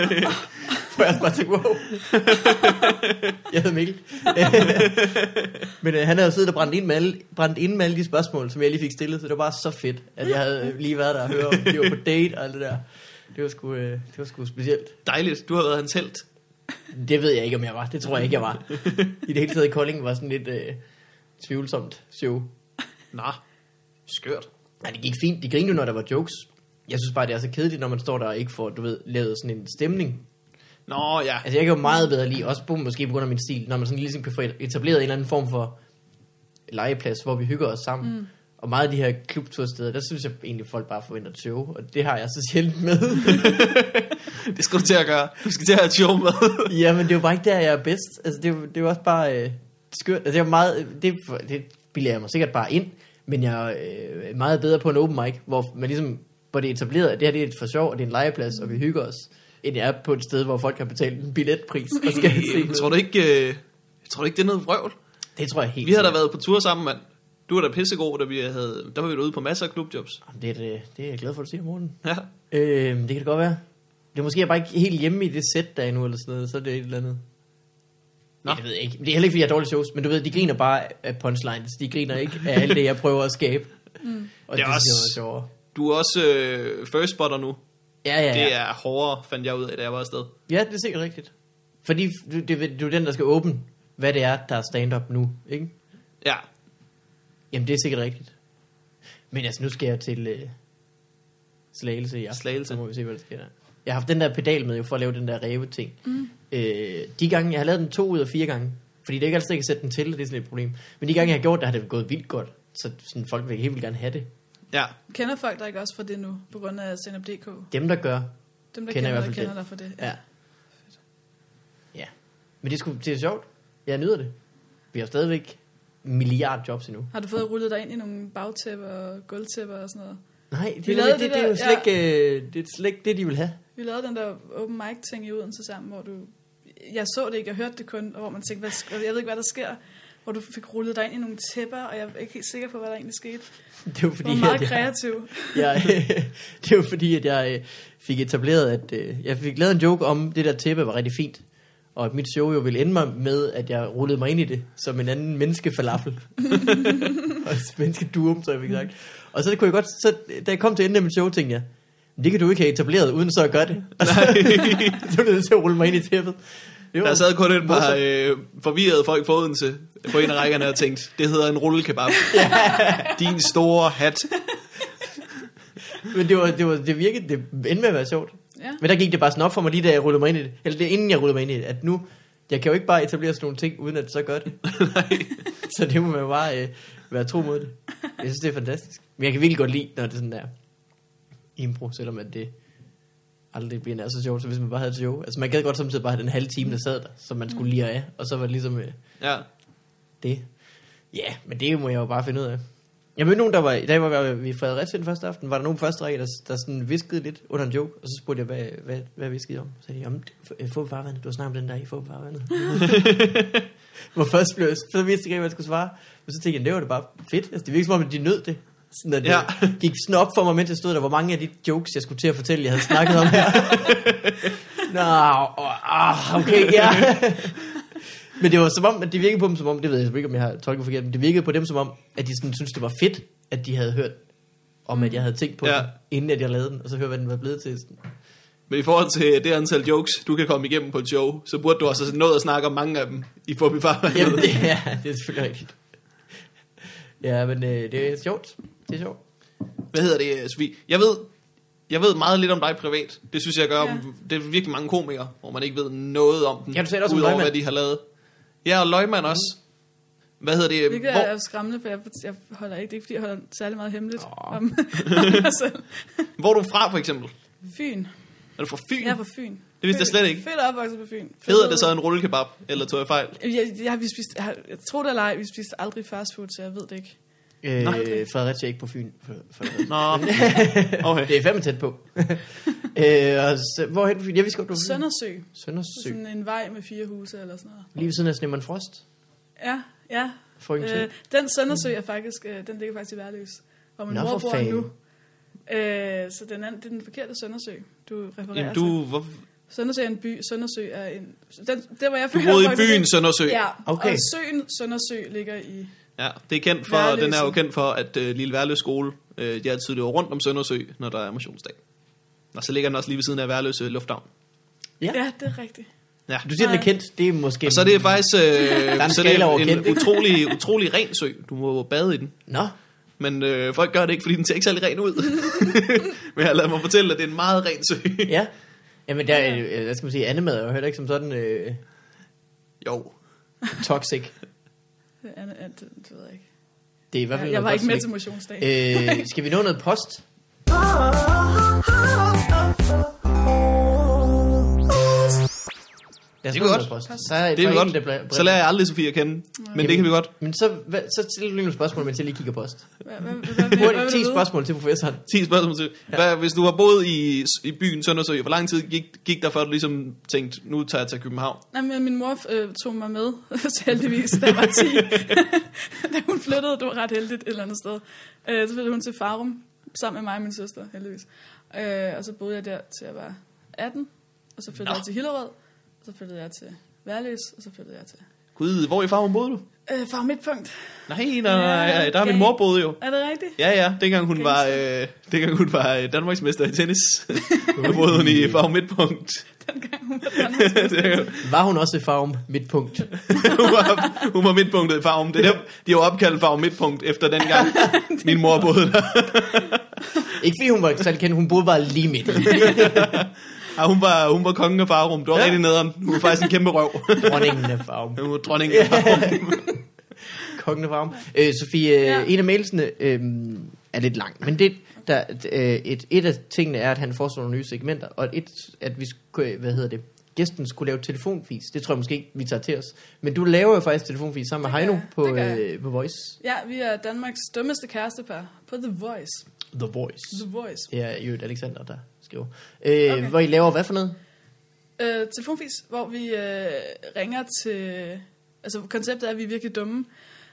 S3: hvor jeg også bare tænkte, wow. jeg hedder Mikkel. Men øh, han havde jo siddet og brændt ind, med alle, brændt ind med alle de spørgsmål, som jeg lige fik stillet, så det var bare så fedt, at jeg havde øh, lige været der og høre, om de var på date og alt det der. Det var sgu, øh, det var sgu specielt.
S1: Dejligt, du har været hans held.
S3: Det ved jeg ikke, om jeg var. Det tror jeg ikke, jeg var. I det hele taget, Kolding var sådan lidt øh, tvivlsomt show.
S1: Nå, skørt.
S3: Nej, det gik fint. De grinede jo, når der var jokes. Jeg synes bare, det er så kedeligt, når man står der og ikke får, du ved, lavet sådan en stemning.
S1: Nå ja,
S3: Altså, jeg kan jo meget bedre lide, også på, måske på grund af min stil, når man sådan ligesom kan få etableret en eller anden form for legeplads, hvor vi hygger os sammen. Mm. Og meget af de her klubtursteder, der synes jeg egentlig, folk bare forventer et show, og det har jeg så sjældent med.
S1: det skal du til at gøre. Du skal til at have et show med.
S3: Jamen, det er jo bare ikke der, jeg er bedst. Altså, det er, jo- det er jo også bare øh, skørt. Altså, jeg er meget, det, er for- det bilder jeg mig sikkert bare ind, men jeg er øh, meget bedre på en open mic, hvor man ligesom, hvor det er etableret, at det her det er for sjov, og det er en legeplads, og vi hygger os, end jeg er på et sted, hvor folk har betalt en billetpris, og skal se
S1: Øh, Tror
S3: noget.
S1: du ikke, øh, tror du ikke det er noget vrøvl?
S3: Det tror jeg helt
S1: Vi har da
S3: sikkert.
S1: været på tur sammen, mand. Du var da pissegod, da vi havde, der var vi da ude på masser af klubjobs.
S3: Jamen, Det er, det, det er jeg glad for, at du siger, Morten.
S1: Ja.
S3: Øh, det kan det godt være. Det er måske jeg er bare ikke helt hjemme i det sæt, der er endnu, eller sådan noget, så er det et eller andet.
S1: Nå.
S3: Nej, det ved jeg ikke. Det er heller ikke, fordi jeg har dårlige shows, men du ved, de griner bare af punchlines. De griner ikke af alt det, jeg prøver at skabe. Mm. Og
S1: Det
S3: det,
S1: er
S3: det synes jeg var
S1: også-
S3: sjovere.
S1: Du er også øh, first spotter nu.
S3: Ja, ja, ja.
S1: Det er hårdere, fandt jeg ud af, da jeg var afsted.
S3: Ja, det er sikkert rigtigt. Fordi du- det, det, du er den, der skal åbne, hvad det er, der er stand-up nu, ikke?
S1: Ja,
S3: Jamen, det er sikkert rigtigt. Men altså, nu skal jeg til øh, Slagelse i aften.
S1: Slagelse.
S3: Så må vi se, hvad der sker der. Jeg har haft den der pedal med jo for at lave den der ræve-ting. Mm. Øh, de gange, jeg har lavet den to ud af fire gange, fordi det er ikke altid, jeg kan sætte den til, og det er sådan et problem. Men de gange, jeg har gjort det, har det gået vildt godt. Så sådan, folk vil helt vildt gerne have det.
S1: ja.
S2: Kender folk dig ikke også for det nu, på grund af stand-up.dk?
S3: Dem, der gør,
S2: Dem,
S3: Kender i
S2: der kender,
S3: hvert
S2: kender,
S3: fald
S2: dig, kender
S3: det.
S2: dig for det.
S3: ja. Ja. Men det er, sgu, det er sjovt. Jeg nyder det. Vi har stadigvæk en milliard jobs endnu.
S2: Har du fået rullet dig ind i nogle bagtæpper og gulvtæpper og sådan noget?
S3: Nej, det,
S2: Vi
S3: det,
S2: lavede
S3: det, det,
S2: det
S3: det, er jo
S2: der-
S3: slet ikke, øh, det er slet ikke det, de vil have.
S2: Vi lavede den der open mic ting i Odense sammen, hvor du... Jeg så det ikke, jeg hørte det kun, og hvor man tænkte, hvad, sk- jeg ved ikke, hvad der sker. Hvor du fik rullet dig ind i nogle tæpper, og jeg er ikke helt sikker på, hvad der egentlig skete.
S3: Det er jo
S2: Du
S3: fordi,
S2: var meget
S3: at jeg-
S2: kreativ.
S3: jeg, det var fordi, at jeg øh, fik etableret, at øh, jeg fik lavet en joke om, det der tæppe var rigtig fint. Og at mit show jo ville ende mig med, at jeg rullede mig ind i det, som en anden menneskefalafel. og menneskedurum, så jeg fik sagt. Og så kunne jeg godt, så, da jeg kom til enden af mit show, tænkte jeg, det kan du ikke have etableret, uden så at gøre det. Og så, så blev jeg nødt til at rulle mig ind i tæppet. Det
S1: Der sad kun et par
S3: morsomt.
S1: øh, forvirrede folk fra Odense på en af rækkerne og tænkte, det hedder en rullekebab. Din store hat.
S3: Men det, var, det, var, det virkede, det endte med at være sjovt.
S2: Ja.
S1: Øhm,
S3: Men der gik det bare sådan op for mig, lige da jeg rullede mig ind i det, eller det, er inden jeg rullede mig ind i det, at nu, jeg kan jo ikke bare etablere sådan nogle ting, uden at det så gør det. så det må man jo bare øh, være tro mod det. Jeg synes, det er fantastisk. Men jeg kan virkelig godt lide, når det sådan er impro, selvom at det aldrig bliver nær så sjovt, så hvis man bare havde et show. Altså man gad godt samtidig bare have den halve time, der sad der, som man skulle lige af, og så var det ligesom øh,
S1: Ja.
S3: det. Ja, men det må jeg jo bare finde ud af. Jeg mødte nogen, der var, da jeg var vi i Fredericia den første aften, var der nogen på første række, der, der sådan viskede lidt under en joke, og så spurgte jeg, hvad, hvad, hvad viskede I om? Så sagde de, jamen, det- øh, få på farvandet, du har snakket om den der i, få på farvandet. Hvor først blev jeg, så vidste jeg ikke, hvad jeg skulle svare, men så tænkte jeg, det var da bare fedt, altså, det virkede som om, at de nød det. Sådan, at det
S1: Ja.
S3: gik sådan op for mig, mens jeg stod der, hvor mange af de jokes, jeg skulle til at fortælle, jeg havde snakket om her. Nå, oh, okay, ja. Men det var som om, at det virkede på dem som om, det ved jeg ikke, om jeg har tolket forkert, men det virkede på dem som om, at de sådan, synes det var fedt, at de havde hørt om, at jeg havde tænkt på
S1: Ja.
S3: ja. den, inden at jeg lavede den, og så høre, hvad den var blevet til. Sådan,
S1: Men i forhold til det antal jokes, du kan komme igennem på et show, så burde du også nået at snakke om mange af dem i Bobby Farmer.
S3: Jamen, det, ja, det er selvfølgelig rigtigt. Ja, men øh, det er sjovt. Det er sjovt.
S1: Hvad hedder det, Sofie? Jeg ved, jeg ved meget lidt om dig privat. Det synes jeg gør,
S2: Ja.
S1: ja. det er virkelig mange komikere, hvor man ikke ved noget om dem.
S3: Ja, du sagde også om
S1: udover,
S3: Løgmand.
S1: hvad de har lavet. Ja, og Løgman også. Hvad hedder det?
S2: Mhm. Hvilket
S1: hvor,
S2: er skræmmende, for jeg, jeg holder ikke, det er ikke, fordi jeg holder særlig meget hemmeligt
S3: Åh.
S2: oh. om om mig selv.
S1: hvor er du fra, for eksempel?
S2: Fyn.
S1: Er du fra Fyn?
S2: altså- Jeg er fra Fyn.
S1: Det vidste jeg slet ikke.
S2: Fedt opvokset på Fyn.
S1: Hedder det så en rullekebab, eller tog jeg fejl?
S2: Jeg, jeg, vi spiste, jeg, jeg tror det eller ej, vi spiste aldrig fast food, så jeg ved det ikke.
S3: Øh,
S2: okay.
S3: Fredericia er ikke på Fyn. For, for,
S1: Nå, okay.
S3: det er fandme tæt på. øh, og så, hvorhen på Fyn? Jeg vidste godt, du var fra Fyn.
S2: Søndersø.
S3: Søndersø.
S2: Sådan en vej med fire huse eller sådan noget.
S3: Lige ved siden af Snemmer'n Frost.
S2: Ja, ja.
S3: Frøken øh,
S2: Øh, den Søndersø er faktisk, øh, den ligger faktisk i Værløs. Og min
S3: Nå,
S2: mor
S3: for
S2: bor
S3: fanden.
S2: nu. Øh, så den anden, det er den forkerte Søndersø, du refererer
S1: Jamen, du, hvor,
S2: til. Søndersø er en by. Søndersø er en... Den, der, hvor jeg
S1: Du boede i byen Søndersø.
S2: Ja,
S3: Okay.
S2: okay. og søen Søndersø ligger i...
S1: Ja, det er kendt for,
S2: Værløse.
S1: den er jo kendt for, at øh, Lille Værløs skole, øh, de altid løber rundt om Søndersø, når der er motionsdag. Og så ligger den også lige ved siden af Værløse Lufthavn.
S3: Ja.
S2: Ja, ja det er rigtigt.
S1: Ja.
S3: Du siger, den er
S2: Nej.
S3: kendt. Det er måske...
S1: Og så er det faktisk øh,
S3: en
S1: så det
S3: skala
S1: er
S3: over
S1: en,
S3: kendt,
S1: en
S3: ikke?
S1: utrolig, utrolig ren sø. Du må jo bade i den.
S3: Nå.
S1: Men øh, folk gør det ikke, fordi den ser ikke særlig ren ud. Men jeg lader mig fortælle, at det er en meget ren sø.
S3: Ja. Jamen, der, er- øh, hvad skal man sige, andemad er jo heller ikke som sådan øh,
S1: Jo.
S3: toxic.
S2: Det, er, det, det ved jeg ikke.
S3: Det er i hvert fald
S2: Jeg, jeg var
S3: noget
S2: ikke med til
S3: toxic.
S2: motionsdag.
S3: øh, skal vi nå noget post?
S4: Ah, ah,
S3: Lad os
S1: Det
S3: nå
S1: kan
S3: noget
S1: godt.
S3: Post. Så er
S1: Det er vi
S3: pointen, der bla-
S1: godt. Så lærer jeg aldrig Sofie at kende. Men det kan vi godt.
S3: Men så, hvad, så stiller du lige nogle spørgsmål, mens jeg lige kigger post.
S2: Hvad, hvad, hvad, hvad, hvad,
S3: Hurtigt,
S2: vil
S3: 10
S2: du vide?
S3: spørgsmål til professoren.
S1: 10 spørgsmål til. Hvad, hvis du har boet i, i byen Søndersø, hvor lang tid gik, gik der, før du ligesom tænkte, nu tager jeg til København?
S2: Nej, men min mor øh, tog mig med, så heldigvis, da jeg var 10. da hun flyttede, det var ret heldigt et eller andet sted. Øh, så flyttede hun til Farum, sammen med mig og min søster, heldigvis. Øh, og så boede jeg der, til jeg var 18. Og så flyttede
S1: Nå.
S2: Nå. jeg til Hillerød. Og så flyttede jeg til Værløs, og så flyttede jeg til...
S1: Gud, hvor i farven boede du?
S2: Øh, Farum Midtpunkt.
S1: Nej, nej, nej,
S2: Ja,
S1: der har min
S2: okay.
S1: mor boet jo.
S2: Er det rigtigt?
S1: Ja, ja, dengang hun var, øh, dengang hun var øh, Danmarksmester i tennis, der boede hun i Farum Midtpunkt.
S2: Dengang hun var Danmarks
S3: Var hun også i farm midtpunkt?
S1: hun, var, hun var midtpunktet i Farum. Det er der, de har jo opkaldt Farum Midtpunkt efter dengang min mor boede der.
S3: Ikke fordi hun var særlig kendt, hun boede bare lige midt i.
S1: Ja, hun, var, hun var kongen af Farum. Det var
S3: Ja.
S1: ja. rigtig nederen. Hun var faktisk en kæmpe røv.
S3: Dronningen af farm.
S1: Hun var dronningen af Farum.
S3: Kongen af farm. Øh, Sofie, ja.
S2: Ja.
S3: en af mailsene øh, er lidt lang, men det, der, øh, et, et af tingene er, at han foreslår nogle nye segmenter, og et, at vi skulle, hvad hedder det, gæsten skulle lave telefonfis. Det tror jeg måske ikke, vi tager til os. Men du laver jo faktisk telefonfis sammen med
S2: Det
S3: Heino
S2: gør jeg.
S3: på,
S2: Det gør jeg.
S3: øh, på Voice.
S2: Ja, vi er Danmarks dummeste kærestepar på The Voice.
S3: The Voice.
S2: The Voice.
S3: Det er jo et Alexander, der skriver. Øh, okay. Hvor I laver hvad for noget?
S2: Øh, telefonfis, hvor vi øh, ringer til... Altså, konceptet er, at vi er virkelig dumme,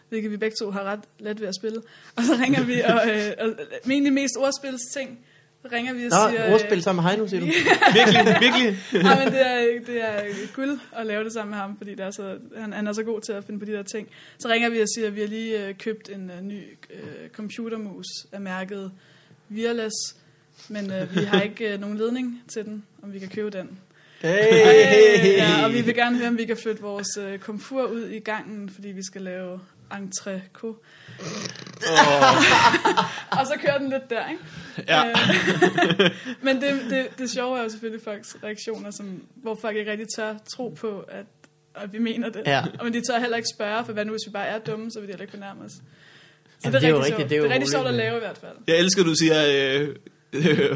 S2: hvilket vi begge to har ret let ved at spille. Og så ringer vi, og, øh, og men egentlig mest ordspilsting, så ringer vi og
S3: Nå,
S2: siger...
S3: ordspil sammen med Heino, siger du?
S1: virkelig, virkelig.
S2: Øh, nej, men det er, det er guld at lave det sammen med ham, fordi det er så, han, han er så god til at finde på de der ting. Så ringer vi og siger, at vi har lige øh, købt en øh, ny øh, computermus af mærket Wireless, men øh, vi har ikke øh, nogen ledning til den, om vi kan købe den.
S3: Hey.
S2: Ja, og vi vil gerne høre, om vi kan flytte vores øh, komfur ud i gangen, fordi vi skal lave entrecôte. og så kører den lidt der, ikke?
S1: Ja.
S2: Øh, men det, det, det sjove er jo selvfølgelig folks reaktioner, som, hvor folk ikke rigtig tør tro på, at, at vi mener det.
S3: Ja.
S2: Og men de tør heller ikke spørge, for hvad nu hvis vi bare er dumme, så vil de heller ikke benærme os. Så
S3: Jamen, det er jo rigtigt,
S2: sjovt.
S3: det er jo
S2: det er rigtig sjovt at
S3: problemet.
S2: lave i hvert fald.
S1: Jeg elsker, du siger øh,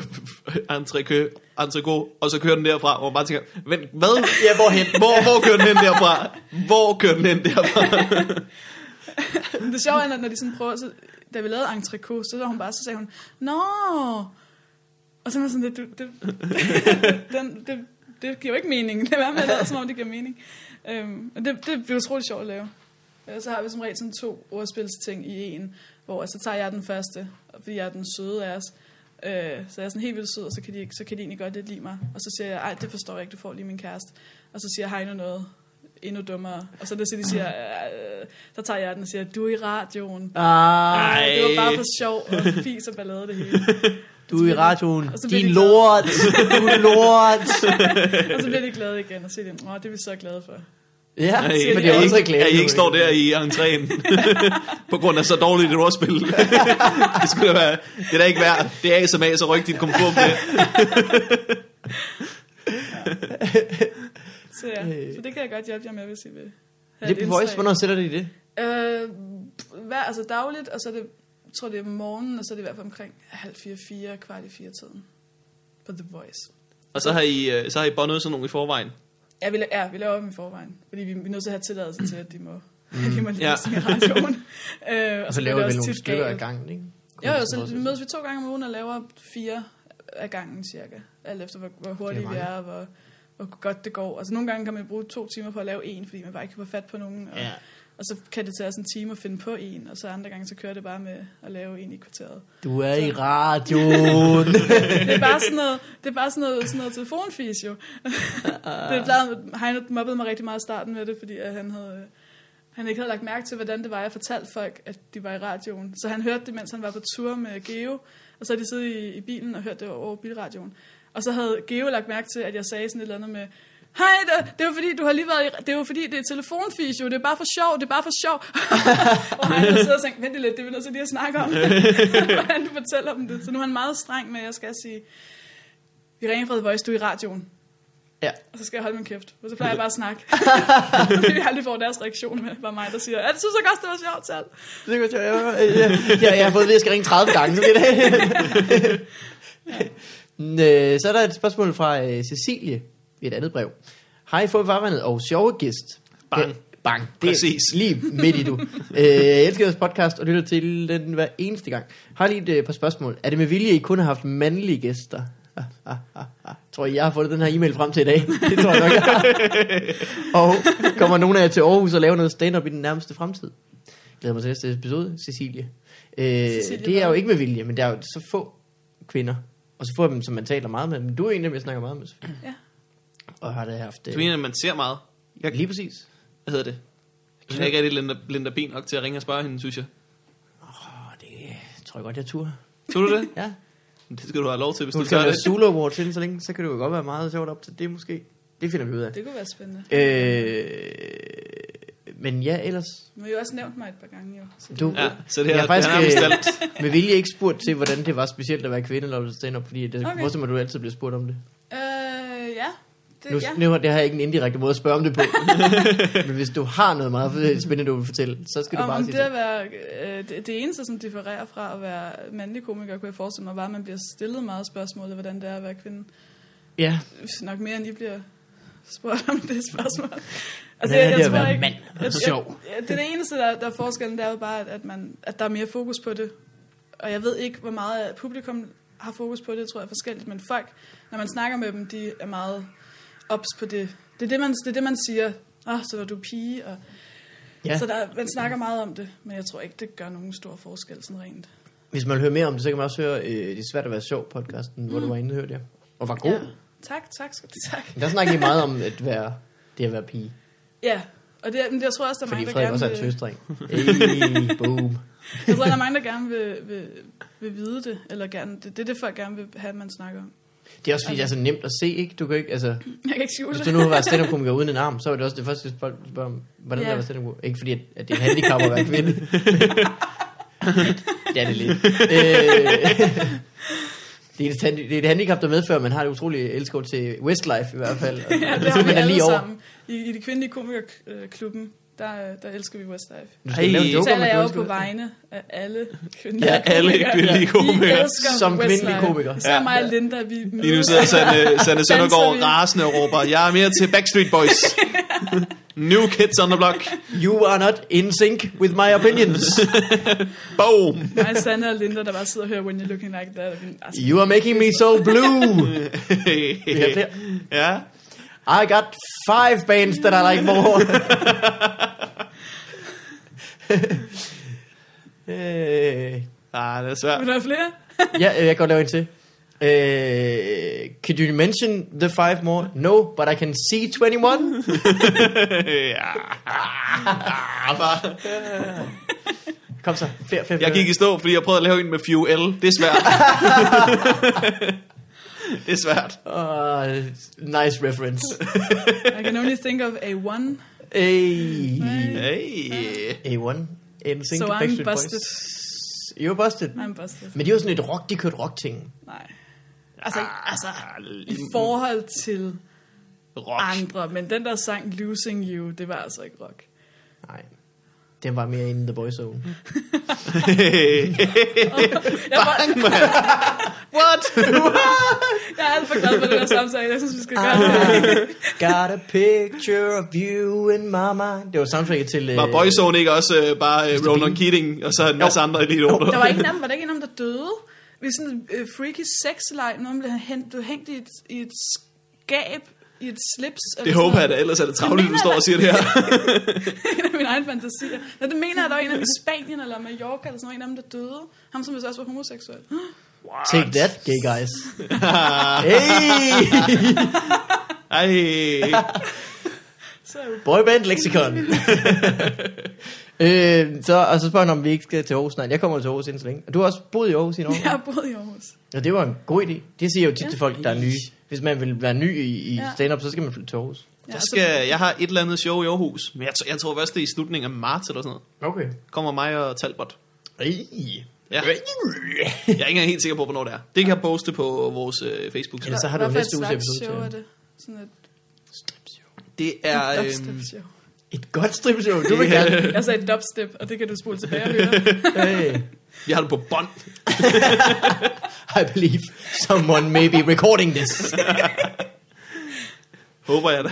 S1: øh, entrecø, entrecô, og så kører den derfra, hvor man bare tænker, men hvad? Ja, hvorhen? Hvor, hvor kører den hen derfra? Hvor kører den hen derfra?
S2: Men det sjove er, når- når de sådan prøver, så, da vi lavede entrecôte, så var hun bare, så sagde hun, Nå! Og så var jeg sådan, det, du- det, den, det, det giver jo ikke mening. Det var med at lade, som om det giver mening. Øhm, og det, det bliver utroligt sjovt at lave. Øh, Så har vi som regel sådan to ordspilsting i en, hvor så tager jeg den første, og fordi jeg er den søde af os. Øh, så jeg er sådan helt vildt sød, og så kan, de, ikke- så kan de egentlig godt lidt lide mig. Og så siger jeg, ej, det forstår jeg ikke, du får lige min kæreste. Og så siger Heino noget endnu dummere. Og så det, så de siger, øh, så tager jeg den og siger, du er i radioen.
S3: Ah,
S2: Ej, det var bare for sjov og fis og ballade det hele.
S3: du er i radioen.
S2: Og så bliver
S3: Din
S2: de glade.
S3: lort. Du er lort.
S2: Og så bliver de glade igen og siger, de, åh, det er vi så glade for.
S3: Ja,
S1: At
S3: men
S1: I-
S3: det er
S1: at I
S3: også
S1: ikke-
S3: reklame.
S1: At I ikke
S3: jo,
S1: står der i entréen, på grund af så dårligt et ordspil. det skulle da være, det er da ikke værd. Det er A som A, så ryk dit komfort på det.
S2: Så, ja.
S3: Øh.
S2: så det kan jeg godt hjælpe jer med, hvis I vil. have
S3: Det
S2: et
S3: er på Voice,
S2: indslag.
S3: hvornår sætter de det?
S2: Øh, hver, altså dagligt, og så er det, jeg tror det er om morgenen, og så er det i hvert fald omkring halv fire, fire, kvart i fire tiden. På The Voice.
S1: Og så har I, øh, så har I bondet sådan nogle i forvejen.
S2: Ja, vi, la- ja, vi laver dem i forvejen, fordi vi, vi er nødt til at have tilladelse til, at de må, mm. de må lige
S1: Ja.
S2: ja. i radioen. øh,
S3: Og så
S2: bliver
S3: laver vi
S2: det også
S3: nogle
S2: tit
S3: stykker af
S2: galt.
S3: gangen, ikke? Kunne
S2: Jo,
S3: man
S2: jo,
S3: sådan
S2: så
S3: også-
S2: mødes vi to gange om ugen og laver fire af gangen cirka. Alt efter, hvor, hvor hurtigt vi
S3: mange.
S2: er, og hvor, hvor godt det går. Altså nogle gange kan man bruge to timer på at lave en, fordi man bare ikke kan få fat på nogen. Og,
S3: Ja.
S2: Og så kan det tage os en time at finde på en, og så andre gange, så kører det bare med at lave en i kvarteret.
S3: Du er i radioen.
S2: Det er bare sådan noget, det er bare sådan noget, sådan noget telefonfis jo. det plejede, Heino mobbede mig rigtig meget i starten med det, fordi at han havde... øh, Han ikke havde lagt mærke til, hvordan det var, jeg fortalte folk, at de var i radioen. Så han hørte det, mens han var på tur med Geo. Og så havde de siddet i, i bilen og hørt det over bilradioen. Og så havde Geo lagt mærke til, at jeg sagde sådan et eller andet med, Hej, det- det var fordi, du har lige været i, det er jo fordi, det er telefonfis jo, det er bare for sjov, det er bare for sjov. og han havde siddet og tænkt, vent lige lidt, det er vi nødt til lige at snakke om, hvordan du fortæller dem det. Så nu er han meget streng med, at jeg skal sige, vi ringer fra The Voice, du er i radioen.
S3: ja.
S2: Og så skal jeg holde min kæft. Og så plejer jeg bare at snakke. Fordi jeg aldrig får deres reaktion med. Bare mig, der siger, ja, det synes jeg også, det var sjovt selv.
S3: Det kan jeg, jeg, jeg, jeg har fået det, jeg skal ringe 30 gange. Det ja. Øh, Så er der et spørgsmål fra øh, Cecilie i et andet brev. Hej, få farvandet og sjove gæst.
S1: Bang.
S3: Øh, Bang. Det
S1: Præcis.
S3: er lige midt i du. Øh, jeg elsker jeres podcast og lytter til den hver eneste gang. Har lige et øh, par spørgsmål. Er det med vilje, I kun har haft mandlige gæster? Ah, ah, ah, ah. Tror I, jeg har fundet den her e-mail frem til i dag? Det tror jeg nok, jeg har. Og kommer nogen af jer til Aarhus og laver noget stand-up i den nærmeste fremtid? glæder mig til næste episode, Cecilie. Øh,
S2: Cecilie,
S3: Cecilie det er jo
S2: hvad?
S3: ikke med vilje, men der er jo så få kvinder, og så få af dem, som man taler meget med. Men du er en af dem, jeg snakker meget med, Sofie.
S2: Ja.
S3: Og har det haft... Øh,
S1: Du mener, at man ser meget.
S3: jeg... Lige præcis.
S1: Hvad hedder det? Jeg er ikke rigtig Linda, Linda Ben nok til at ringe og spørge hende, synes jeg.
S3: Åh, det tror jeg godt, jeg turde.
S1: Tror du det?
S3: Ja.
S1: Det skal du have lov til, hvis
S3: Nu
S1: du
S3: skal
S1: gør
S3: der
S1: det.
S3: Zulu Awards inden så længe, så kan det jo godt være meget sjovt op til det måske. Det finder vi ud af.
S2: Det kunne være spændende.
S3: Øh, men ja, ellers...
S2: Nu har I jo også nævnt mig et par gange, jo. Så
S3: Du,
S1: Ja, så det
S3: jeg
S1: her,
S3: har faktisk
S1: det her er
S3: øh,
S1: bestemt.
S3: med vilje ikke spurgt til, hvordan det var specielt at være kvinde, når du stand-up, fordi det
S2: Okay.
S3: okay. måske, at du altid bliver spurgt om det.
S2: Øh, ja. Det,
S3: Nu,
S2: ja.
S3: ja. nu det har jeg ikke en indirekte måde at spørge om det på. Men hvis du har noget meget spændende, du vil fortælle, så skal du
S2: Om,
S3: bare
S2: om
S3: sige
S2: det at
S3: det.
S2: være, øh, det, det eneste, som differerer fra at være mandlig komiker, kunne jeg forestille mig, var, at man bliver stillet meget spørgsmål om, hvordan det er at være kvinde.
S3: Ja,
S2: Nok mere, end I bliver spurgt om det spørgsmål.
S3: Hvordan er det at
S2: tror
S3: være
S2: ikke-
S3: mand?
S2: jeg- jeg-
S3: Sjov.
S2: Ja, det er det eneste, der, der er forskellen, det er jo bare, at, at, man, at der er mere fokus på det. Og jeg ved ikke, hvor meget af publikum har fokus på det, jeg tror jeg er forskelligt, men folk, når man snakker med dem, de er meget ops på det. Det er det, man, det er det, man siger. Åh, oh, så var du pige. Og,
S3: Ja.
S2: ja. Så der, man snakker meget om det, men jeg tror ikke, det gør nogen stor forskel sådan rent.
S3: hvis man vil høre mere om det, så kan man også høre øh, Det er svært at være sjov podcasten, mm. hvor du var inde og hørte jer. Og var god.
S2: Ja.
S3: Ja.
S2: Tak, tak, skal du tak.
S3: Der snakker I meget om at være, det at være pige.
S2: Ja, og det, men jeg tror også, der er
S3: Fordi
S2: mange, der
S3: Frederik
S2: gerne
S3: også er en
S2: vil-
S3: søstring. Hey, boom.
S2: Jeg tror, der er mange, der gerne vil, vil, vil vide det, eller gerne, det, det er det, folk gerne vil have, man snakker om.
S3: Det er også fordi, det er så nemt at se, ikke? Du kan ikke, altså,
S2: Jeg kan ikke skjule
S3: hvis
S2: det.
S3: du nu har været stand-up-komiker uden en arm, så er det også det første, folk spørger om, hvordan yeah.
S2: Ja.
S3: der var stand-up Ikke fordi, at, at det er en handicap at være kvinde. det er det lidt. Øh, det, er et, handi- det er et handicap, der medfører, at man har det utrolige elskov til Westlife i hvert fald. Og,
S2: Ja,
S3: og
S2: det har vi
S3: man er
S2: alle sammen. I, I det kvindelige komikerklubben, der, øh, der elsker vi Westlife.
S3: Du skal
S1: Ej,
S3: lave en
S2: Nu
S3: joke om,
S2: taler
S3: at
S2: jeg
S3: du
S2: jo
S3: elsker
S2: på
S3: Westlife.
S2: vegne af alle kvindelige
S3: Ja,
S1: alle kvindelige komikere.
S2: I elsker
S3: Som
S2: Westlife.
S3: kvindelige komikere.
S2: Især
S1: Ja.
S2: mig og Linda, vi
S1: Lige nu
S2: mødes.
S1: sidder Sanne, Sanne Søndergaard
S2: vi.
S1: rasende og råber, jeg er mere til Backstreet Boys. New Kids on the Block.
S3: You are not in sync with my opinions.
S1: Boom.
S2: Mig og Sanne og Linda, der bare sidder og hører When You're Looking Like That. og vi- Altså,
S3: You are making me so blue. Vi har flere.
S1: ja.
S3: I got five bands that I like more. øh,
S1: Ah, det er svært.
S2: Vil der være flere?
S3: ja, øh, jeg kan godt lave en til. Øh, could you mention the five more? No, but I can see 21.
S1: ja. Ah, bare.
S3: Kom så, flere, flere, flere.
S1: Jeg gik i stå, fordi jeg prøvede at lave en med Fuel. Det er svært. det er svært.
S3: Uh, nice reference.
S2: I can only think of a one,
S3: Hey.
S1: Hey.
S3: A1. En
S2: so
S3: single
S2: I'm
S3: Backstreet
S2: busted.
S3: Boys. You're busted.
S2: I'm busted.
S3: Men det er jo sådan et rock, de kørte rock-ting.
S2: Nej. Altså, altså, i
S1: Ah,
S2: forhold til
S1: Rock.
S2: andre, men den der sang Losing You, det var altså ikke rock.
S3: Nej. Den var mere in the boy zone.
S2: Jeg, var,
S1: What?
S2: jeg er alt for glad for den her samtale. Jeg synes, vi skal gøre
S3: Ah.
S2: det.
S3: I got a picture of you in my mind. Det var soundtracket til... Øh,
S1: Var Boyzone ikke også øh, bare øh,
S3: Mr.
S1: Ronan
S3: Bean?
S1: Keating, og så en masse andre idioter?
S2: Der var ikke en af dem, var der ikke en af dem, der døde? Vi er sådan en øh, freaky sexleg, når man blev hængt, du hængt i et, i et skab i et slips. eller sådan
S1: Det håber jeg da,
S2: noget.
S1: ellers er det
S2: Det
S1: travligt,
S2: mener
S1: du står
S2: jeg
S1: og siger det her.
S2: en af mine egne fantasier. Nå, det mener jeg, der var en af dem i Spanien eller Mallorca, eller sådan noget, en af dem, der døde. Ham, som vist også var homoseksuel.
S3: Take that, gay guys. hey!
S1: Ej,
S2: Så er jeg jo
S3: Boyband lexikon. øh, så, og så spørger han, om vi ikke skal til Aarhus. Nej, jeg kommer til Aarhus inden så længe. Og du har også boet i Aarhus i en år.
S2: jeg har boet i Aarhus.
S3: Ja, det var en god idé. Det siger jeg jo tit
S2: Ja.
S3: til folk, der er nye. Hvis man vil være ny i, i
S2: Ja.
S3: stand-up, så skal man flytte til Aarhus.
S2: Ja, altså,
S1: jeg,
S2: og så-
S1: skal, jeg har et eller andet show i Aarhus, men jeg, tror- jeg tror først, det er i slutningen af marts eller sådan noget.
S3: Okay.
S1: Kommer mig og Talbot.
S3: Ej.
S1: Ja. Jeg er ikke engang helt sikker på, hvornår det er. Det kan jeg poste på vores øh, facebook side
S3: Ellers så har du
S2: Hvad for et
S3: næste uges
S2: slags
S3: episode
S2: show
S3: til.
S2: er det? Sådan et
S1: Det er...
S2: dubstep
S1: øhm,
S2: show.
S3: Et godt stripshow, du vil gerne.
S2: Jeg sagde dubstep, og det kan du spole tilbage og høre.
S3: Hey.
S1: Jeg har det på bånd.
S3: I believe someone may be recording this.
S1: Håber jeg da.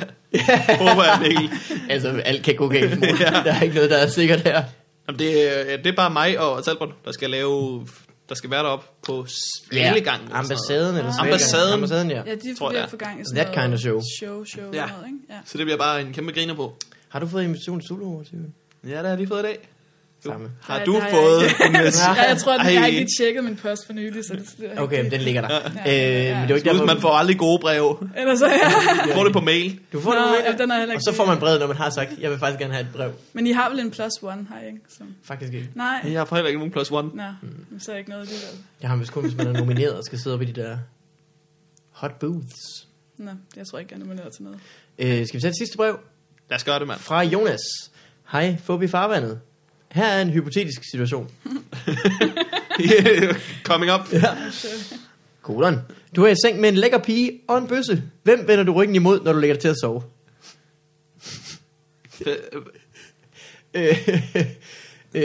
S1: Håber jeg virkelig.
S3: altså, alt kan gå galt. mor. Der er ikke noget, der er sikkert her.
S1: Jamen, det, er- ja, det er bare mig og Talbot, der skal lave... Der skal være deroppe på Svalegangen. eller sådan
S3: Ambassaden
S1: noget.
S3: eller
S2: Ah.
S3: Svalegangen.
S1: Ambassaden.
S3: Ambassaden, ja.
S2: Ja, de er
S1: Tror
S2: ved
S1: jeg, det
S2: at
S1: er.
S2: få gang i sådan
S3: That
S2: noget
S3: kind of show.
S2: Show, show
S1: Ja.
S2: ja. noget, ikke? Ja.
S1: Så det bliver bare en kæmpe griner på.
S3: Har du fået invitation til Solo over til?
S1: Ja, det har jeg lige fået i dag. Du,
S3: Samme.
S1: har
S2: Nej,
S1: du
S2: det har jeg
S1: fået
S2: ikke.
S1: en mess?
S2: Ja, jeg tror, at jeg har
S1: Ej.
S2: ikke lige tjekket min post for nylig, så det, det er
S3: Okay, men den ligger der.
S2: Ja,
S3: Øh,
S2: ja.
S3: men det er jo ikke
S1: Husk,
S3: derfor,
S1: man får aldrig gode brev.
S2: Ellers så ja.
S1: Du får det på mail.
S3: du får
S2: Nå,
S3: noget
S2: ja, den er heller
S3: og
S2: ikke.
S3: så får man brevet, når man har sagt, jeg vil faktisk gerne have et brev.
S2: Men I har vel en plus one, har I ikke? Så...
S3: Faktisk ikke.
S2: Nej.
S1: Jeg har for heller ikke nogen plus one.
S2: Nå, men så er ikke noget alligevel.
S3: Jeg har vist kun, hvis man er nomineret og skal sidde oppe i de der hot booths.
S2: Nå, jeg tror ikke, jeg er nomineret til noget.
S3: Øh, skal vi tage et sidste brev?
S1: Lad os gøre det, mand.
S3: Fra Jonas. Hej, Fobi Farvandet. Her er en hypotetisk situation.
S1: Coming up.
S3: Kolon. Du er i seng med en lækker pige og en bøsse. Hvem vender du ryggen imod, når du ligger dig til at sove? Øh, øh,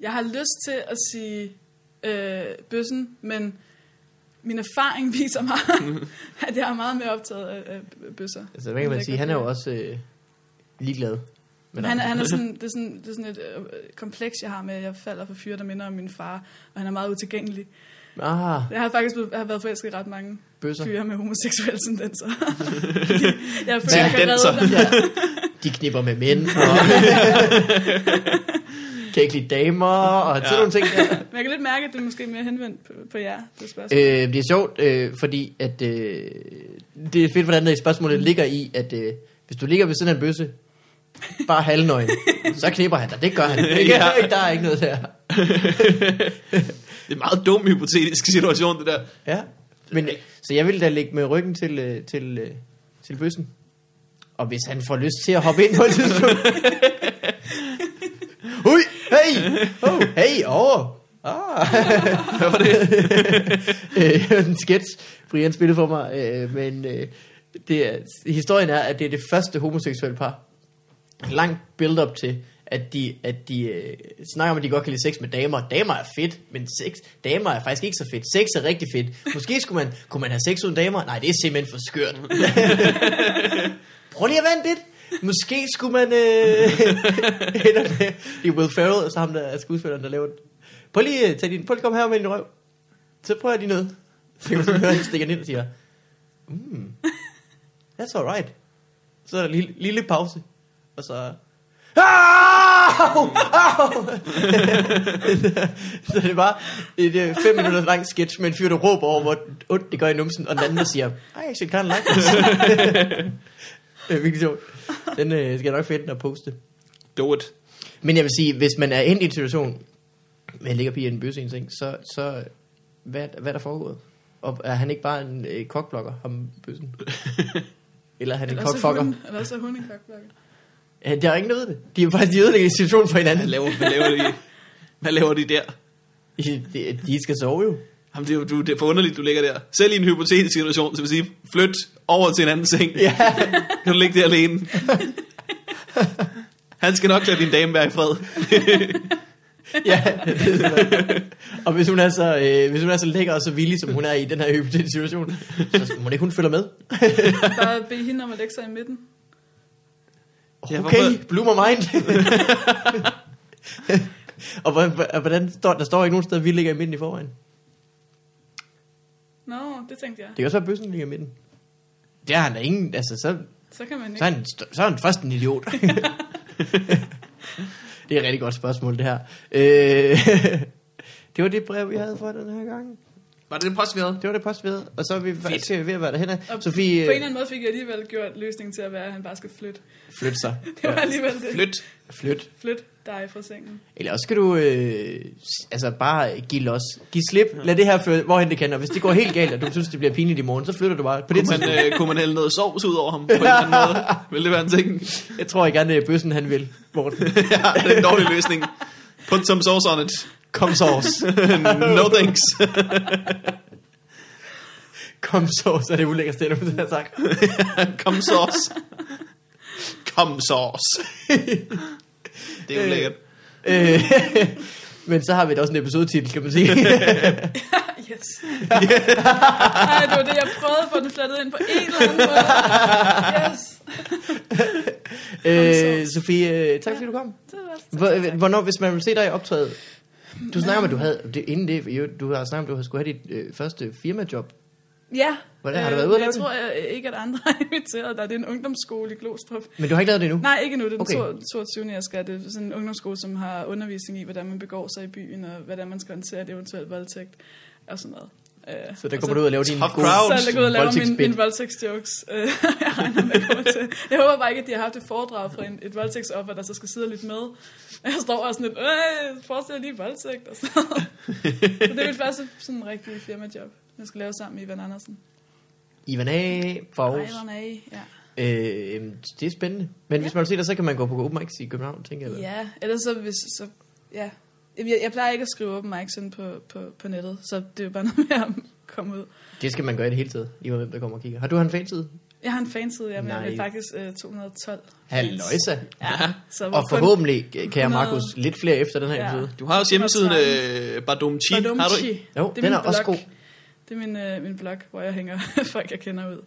S2: Jeg har lyst til at sige øh, bøssen, men min erfaring viser mig, at jeg er meget mere optaget af, af bøsser.
S3: altså, hvad kan man sige? Han er jo også øh, ligeglad. med dig.
S2: Han, er- han er sådan, det, er sådan, det er sådan et øh, kompleks, jeg har med, at jeg falder for fyre, der minder om min far, og han er meget utilgængelig.
S3: Ah,
S2: Jeg har faktisk blevet, jeg har været forelsket i ret mange
S3: bøsser.
S2: fyre med homoseksuelle tendenser. Fordi jeg føler, jeg kan redde
S1: Tendenser.
S2: dem.
S3: Ja. De knipper med mænd, og kan ikke lide damer, og sådan
S1: Ja.
S3: nogle ting. Der.
S2: Men jeg kan lidt mærke, at det er måske mere henvendt på, på jer, det spørgsmål.
S3: Øh, det er sjovt, øh, fordi at, øh, det er fedt, hvordan det spørgsmålet ligger i, at øh, hvis du ligger ved siden af en bøsse, bare halvnøgen, så knipper han dig. Det gør han. Ikke?
S1: Ja.
S3: Der er ikke noget der.
S1: Det er en meget dum hypotetisk situation, det der.
S3: Ja. Men,
S1: Øh.
S3: så jeg ville da ligge med ryggen til, øh, til, øh, til bøssen. Og hvis han får lyst til at hoppe ind på et tidspunkt. Ui, hey, oh, hey, over. Ah.
S1: Hvad var det?
S3: øh, en sketch, Brian spillede for mig, øh, men øh, det er, historien er, at det er det første homoseksuelle par. Langt build-up til, at de, at de øh, snakker om, at de godt kan lide sex med damer. Damer er fedt, men sex, damer er faktisk ikke så fedt. Sex er rigtig fedt. Måske skulle man, kunne man have sex uden damer? Nej, det er simpelthen for skørt. Prøv lige at vente lidt. Måske skulle man... Øh, ender med, det er Will Ferrell, og så ham der er skuespilleren, der laver den. Prøv lige, øh, tag din, prøv lige kom her med din røv. Så prøver jeg lige noget. Så kan man sådan høre, at han stikker den ind og siger, mm, that's alright. Så er der en lille, lille pause. Og så... Au! Au! så det er bare et øh, fem minutter langt sketch med en fyr, der råber over, hvor ondt det gør i numsen, og den anden, der siger, I actually kind of like this. det er virkelig sjovt. Den øh, skal jeg nok finde og poste.
S1: Do it.
S3: Men jeg vil sige, hvis man er endt i en situation, med en ligger pige i en bøsse i en seng, så, så hvad, hvad er der foregået? Og er han ikke bare en øh, kokblokker, ham bøssen? Eller er han en
S2: Ellers er
S3: kokfokker?
S2: hun- Ellers er hun en kokblokker.
S3: Ja, der er ingen, der ved det. De er faktisk de ødelægger situationen for
S1: Hvad
S3: hinanden.
S1: laver, hvad laver de? Hvad laver de der?
S3: De, de skal sove jo.
S1: Jamen, det, er, jo- du, det er for underligt, du ligger der. Selv i en hypotetisk situation, så vil sige, flyt over til en anden seng.
S3: Ja.
S1: Kan du ligge der alene? Han skal nok lade din dame være i fred.
S3: ja det er og hvis hun, er så, øh, hvis hun er så lækker og så villig, som hun er i den her hypotetiske situation, så skal- må det ikke hun følger med.
S2: Bare bede hende om at lægge sig i midten.
S1: Ja,
S3: Okay,
S1: hvorfor-
S3: blew my mind. og hvordan, hvordan står, der står ikke nogen sted, at vi ligger i midten i forvejen.
S2: Nå, det tænkte jeg.
S3: Det kan også være, at bøssen ligger i midten. Det har han da ingen... Altså, så,
S2: Så kan man
S3: så, er
S2: ikke.
S3: han, st- så er han først en idiot. det er et rigtig godt spørgsmål, det her. Øh, det var det brev, vi havde for den her gang.
S1: Var det det post, vi havde?
S3: Det var det post, vi havde. Og så er vi,
S1: Fedt.
S3: så er vi ved at være derhen af.
S2: Og
S3: Sofie
S2: på en
S3: øh,
S2: eller anden måde fik jeg alligevel gjort løsningen til at være, at han bare skal flytte.
S3: flyt sig.
S2: Det var alligevel det.
S1: Flyt.
S3: Flyt.
S2: Flyt dig fra sengen.
S3: Eller også skal du øh, s- altså bare give los. Giv slip. Lad det her føre, hvorhen det kan. Og hvis det går helt galt, og du synes, det bliver pinligt i morgen, så flytter du bare. På det
S1: Kunne man,
S3: tidspunkt,
S1: øh, kunne man hælde noget sovs ud over ham på en eller anden måde? Vil det være en ting?
S3: jeg tror ikke gerne, at bøssen han vil, Morten.
S1: ja, det er en dårlig løsning. Put some sauce on it.
S3: Kom sovs.
S1: No thanks.
S3: Kom sovs, er det ulækkert sted, det her sagt.
S1: Kom sauce. Kom sauce. Det er jo
S3: Øh.
S1: lækkert.
S3: Øh, men så har vi da også en episodetitel, kan man sige.
S2: Yes. Ej, det var det, jeg prøvede at få den flettet ind på en eller anden måde. Yes.
S3: øh, Sofie, øh, tak fordi du kom.
S2: Det var også
S3: Hvor- Hvornår, hvis man vil se dig optræde? Du snakker om, at du havde, det, inden det, jo, du har snakket om, at du har skulle have dit øh, første firmajob.
S2: Ja.
S3: Hvordan har du været ude at lave
S2: Øh, Jeg
S3: det?
S2: tror jeg, ikke, at andre har inviteret dig. Det er en ungdomsskole i Glostrup.
S3: Men du har ikke lavet det endnu?
S2: Nej, ikke nu. Det er
S3: Okay.
S2: den okay. 22. jeg skal. Det er sådan en ungdomsskole, som har undervisning i, hvordan man begår sig i byen, og hvordan man skal håndtere et eventuelt voldtægt, og sådan noget. Øh,
S3: Så der
S2: og
S3: kommer du ud og laver din
S1: Tough
S3: gode...
S1: crowd.
S2: Så er jeg gået og laver min,
S3: Voldtægtsbit.
S2: min voldtægtsjokes. Øh, jeg regner med, at jeg kommer til. Jeg håber bare ikke, at de har haft et foredrag fra en, et voldtægtsoffer, der så skal sidde og lytte med. Jeg står og sådan lidt, øh, forestil jer lige voldtægt. Og så. så det er mit første sådan rigtige firmajob, jeg skal lave sammen med Ivan Andersen.
S3: Ivan A. fra Aarhus.
S2: Ivan A. Ja.
S3: Øh, det er spændende. Men hvis man vil se dig, så kan man gå på open mics i København, tænker jeg.
S2: Ja, ellers så hvis... Så, ja. Jamen, Jeg, jeg plejer ikke at skrive open mic sådan på, på, på nettet, så det er jo bare noget med at komme ud.
S3: Det skal man gøre i det hele taget, lige med hvem der kommer og kigger. Har du en fanside?
S2: Jeg har en fanside, jeg er med
S3: Nice.
S2: faktisk øh, 212.
S3: Halløjsa. Ja.
S2: Så
S3: Og
S2: hvorfor-
S3: forhåbentlig, kære
S2: 100.
S3: Markus, lidt flere efter den her
S2: Ja.
S3: episode.
S1: Du har også hjemmesiden
S2: Det
S1: øh, Badumchi. Har du ikke?
S2: Badumchi.
S3: Jo,
S2: Det er
S3: den
S2: min
S3: er også god.
S2: blog. Det er min, øh, min blog, hvor jeg hænger folk, jeg kender ud.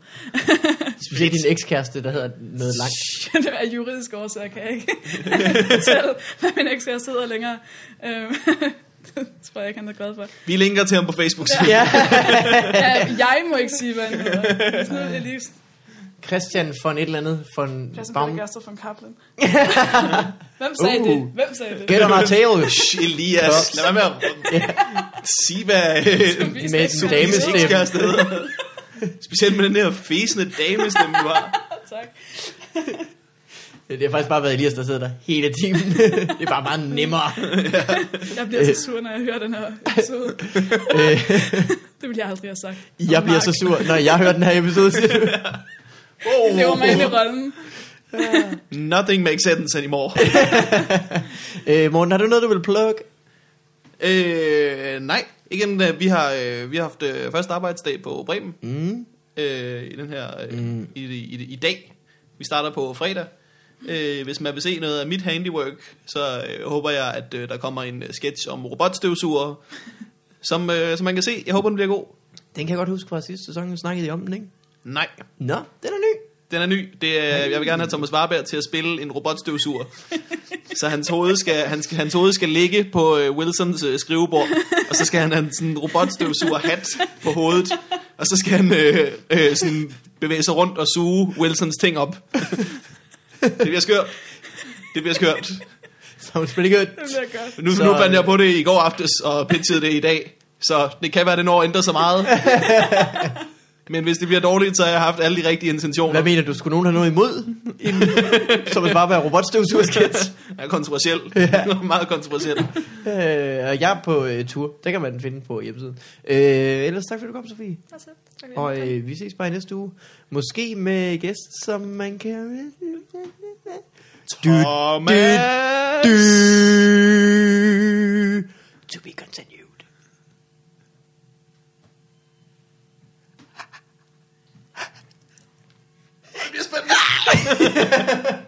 S3: Specielt din ekskæreste, der hedder noget langt.
S2: det er juridisk årsager, kan jeg ikke fortælle, hvad min ekskæreste sidder længere. Øhm, det tror jeg ikke, han er glad for.
S1: Vi linker til ham på Facebook. Ja.
S3: Ja.
S2: Ja, jeg må ikke sige, hvad han hedder. Hvis nu er det lige
S3: Christian von et eller andet, von
S2: Christian
S3: Baum.
S2: Baum. von Kaplan. Hvem sagde
S3: Uh.
S2: uh. det? Hvem sagde det?
S3: Get on our tail.
S1: Elias. Lad være med at sige, hvad øh,
S2: Vi
S3: med
S2: skal
S3: en
S2: ikke-
S3: damestemme.
S1: ekskæreste hedder. Specielt med den her fæsende damestemme, du har.
S2: Tak.
S3: Det har faktisk bare været Elias, der sidder der hele timen. det er bare meget nemmere.
S2: Jeg bliver så sur, når jeg hører den her episode. det ville jeg aldrig have sagt.
S3: Øh. Jeg bliver så sur, når jeg hører den her episode. siger du.
S2: Jeg lever mig ind i rollen.
S1: Nothing makes sense anymore.
S3: øh, Morten, har du noget, du vil plukke?
S1: øh, nej, igen, øh, vi har, øh, vi har haft øh, første arbejdsdag på Bremen
S3: Mm.
S1: øh, i, den her, øh,
S3: Mm.
S1: mm. i, i, i, i dag. Vi starter på fredag. Øh, hvis man vil se noget af mit handiwork, så øh, håber jeg, at øh, der kommer en øh, sketch om robotstøvsuger, som, øh, som man kan se. Jeg håber, den bliver god.
S3: Den kan jeg godt huske fra sidste sæson, vi snakkede I om den, ikke?
S1: Nej,
S3: Nå, den er ny.
S1: Den er ny. Det er, jeg vil gerne have Thomas Warberg til at spille en robotstøvsuger. Så hans hoved skal, han skal, hans hoved skal ligge på øh, Wilsons øh, skrivebord, og så skal han have en sådan robotstøvsuger hat på hovedet, og så skal han øh, øh, sådan bevæge sig rundt og suge Wilsons ting op. Det bliver skørt. Det bliver skørt.
S3: Så er det pretty good.
S2: Det bliver godt.
S1: Nu,
S3: Så,
S1: så, nu fandt jeg
S3: øh,
S1: på det i går aftes og pitchede det i dag, så det kan være, at det når at ændre så meget. Men hvis det bliver dårligt, så har jeg haft alle de rigtige intentioner.
S3: Hvad mener du? Skulle nogen have noget imod? En, som at bare være robotstøvsugerskets.
S1: er kontroversiel.
S3: Ja.
S1: Ja. Meget kontroversiel.
S3: øh, og jeg er på øh, tur. Der kan man den finde på hjemmesiden. Øh, ellers tak fordi du kom, Sofie.
S2: Tak selv. Tak, fordi
S3: Og
S2: jeg
S3: øh, vi ses bare i næste uge. Måske med gæst, som man kan...
S1: Thomas!
S3: Du, to be continued.
S1: Det bliver spændende.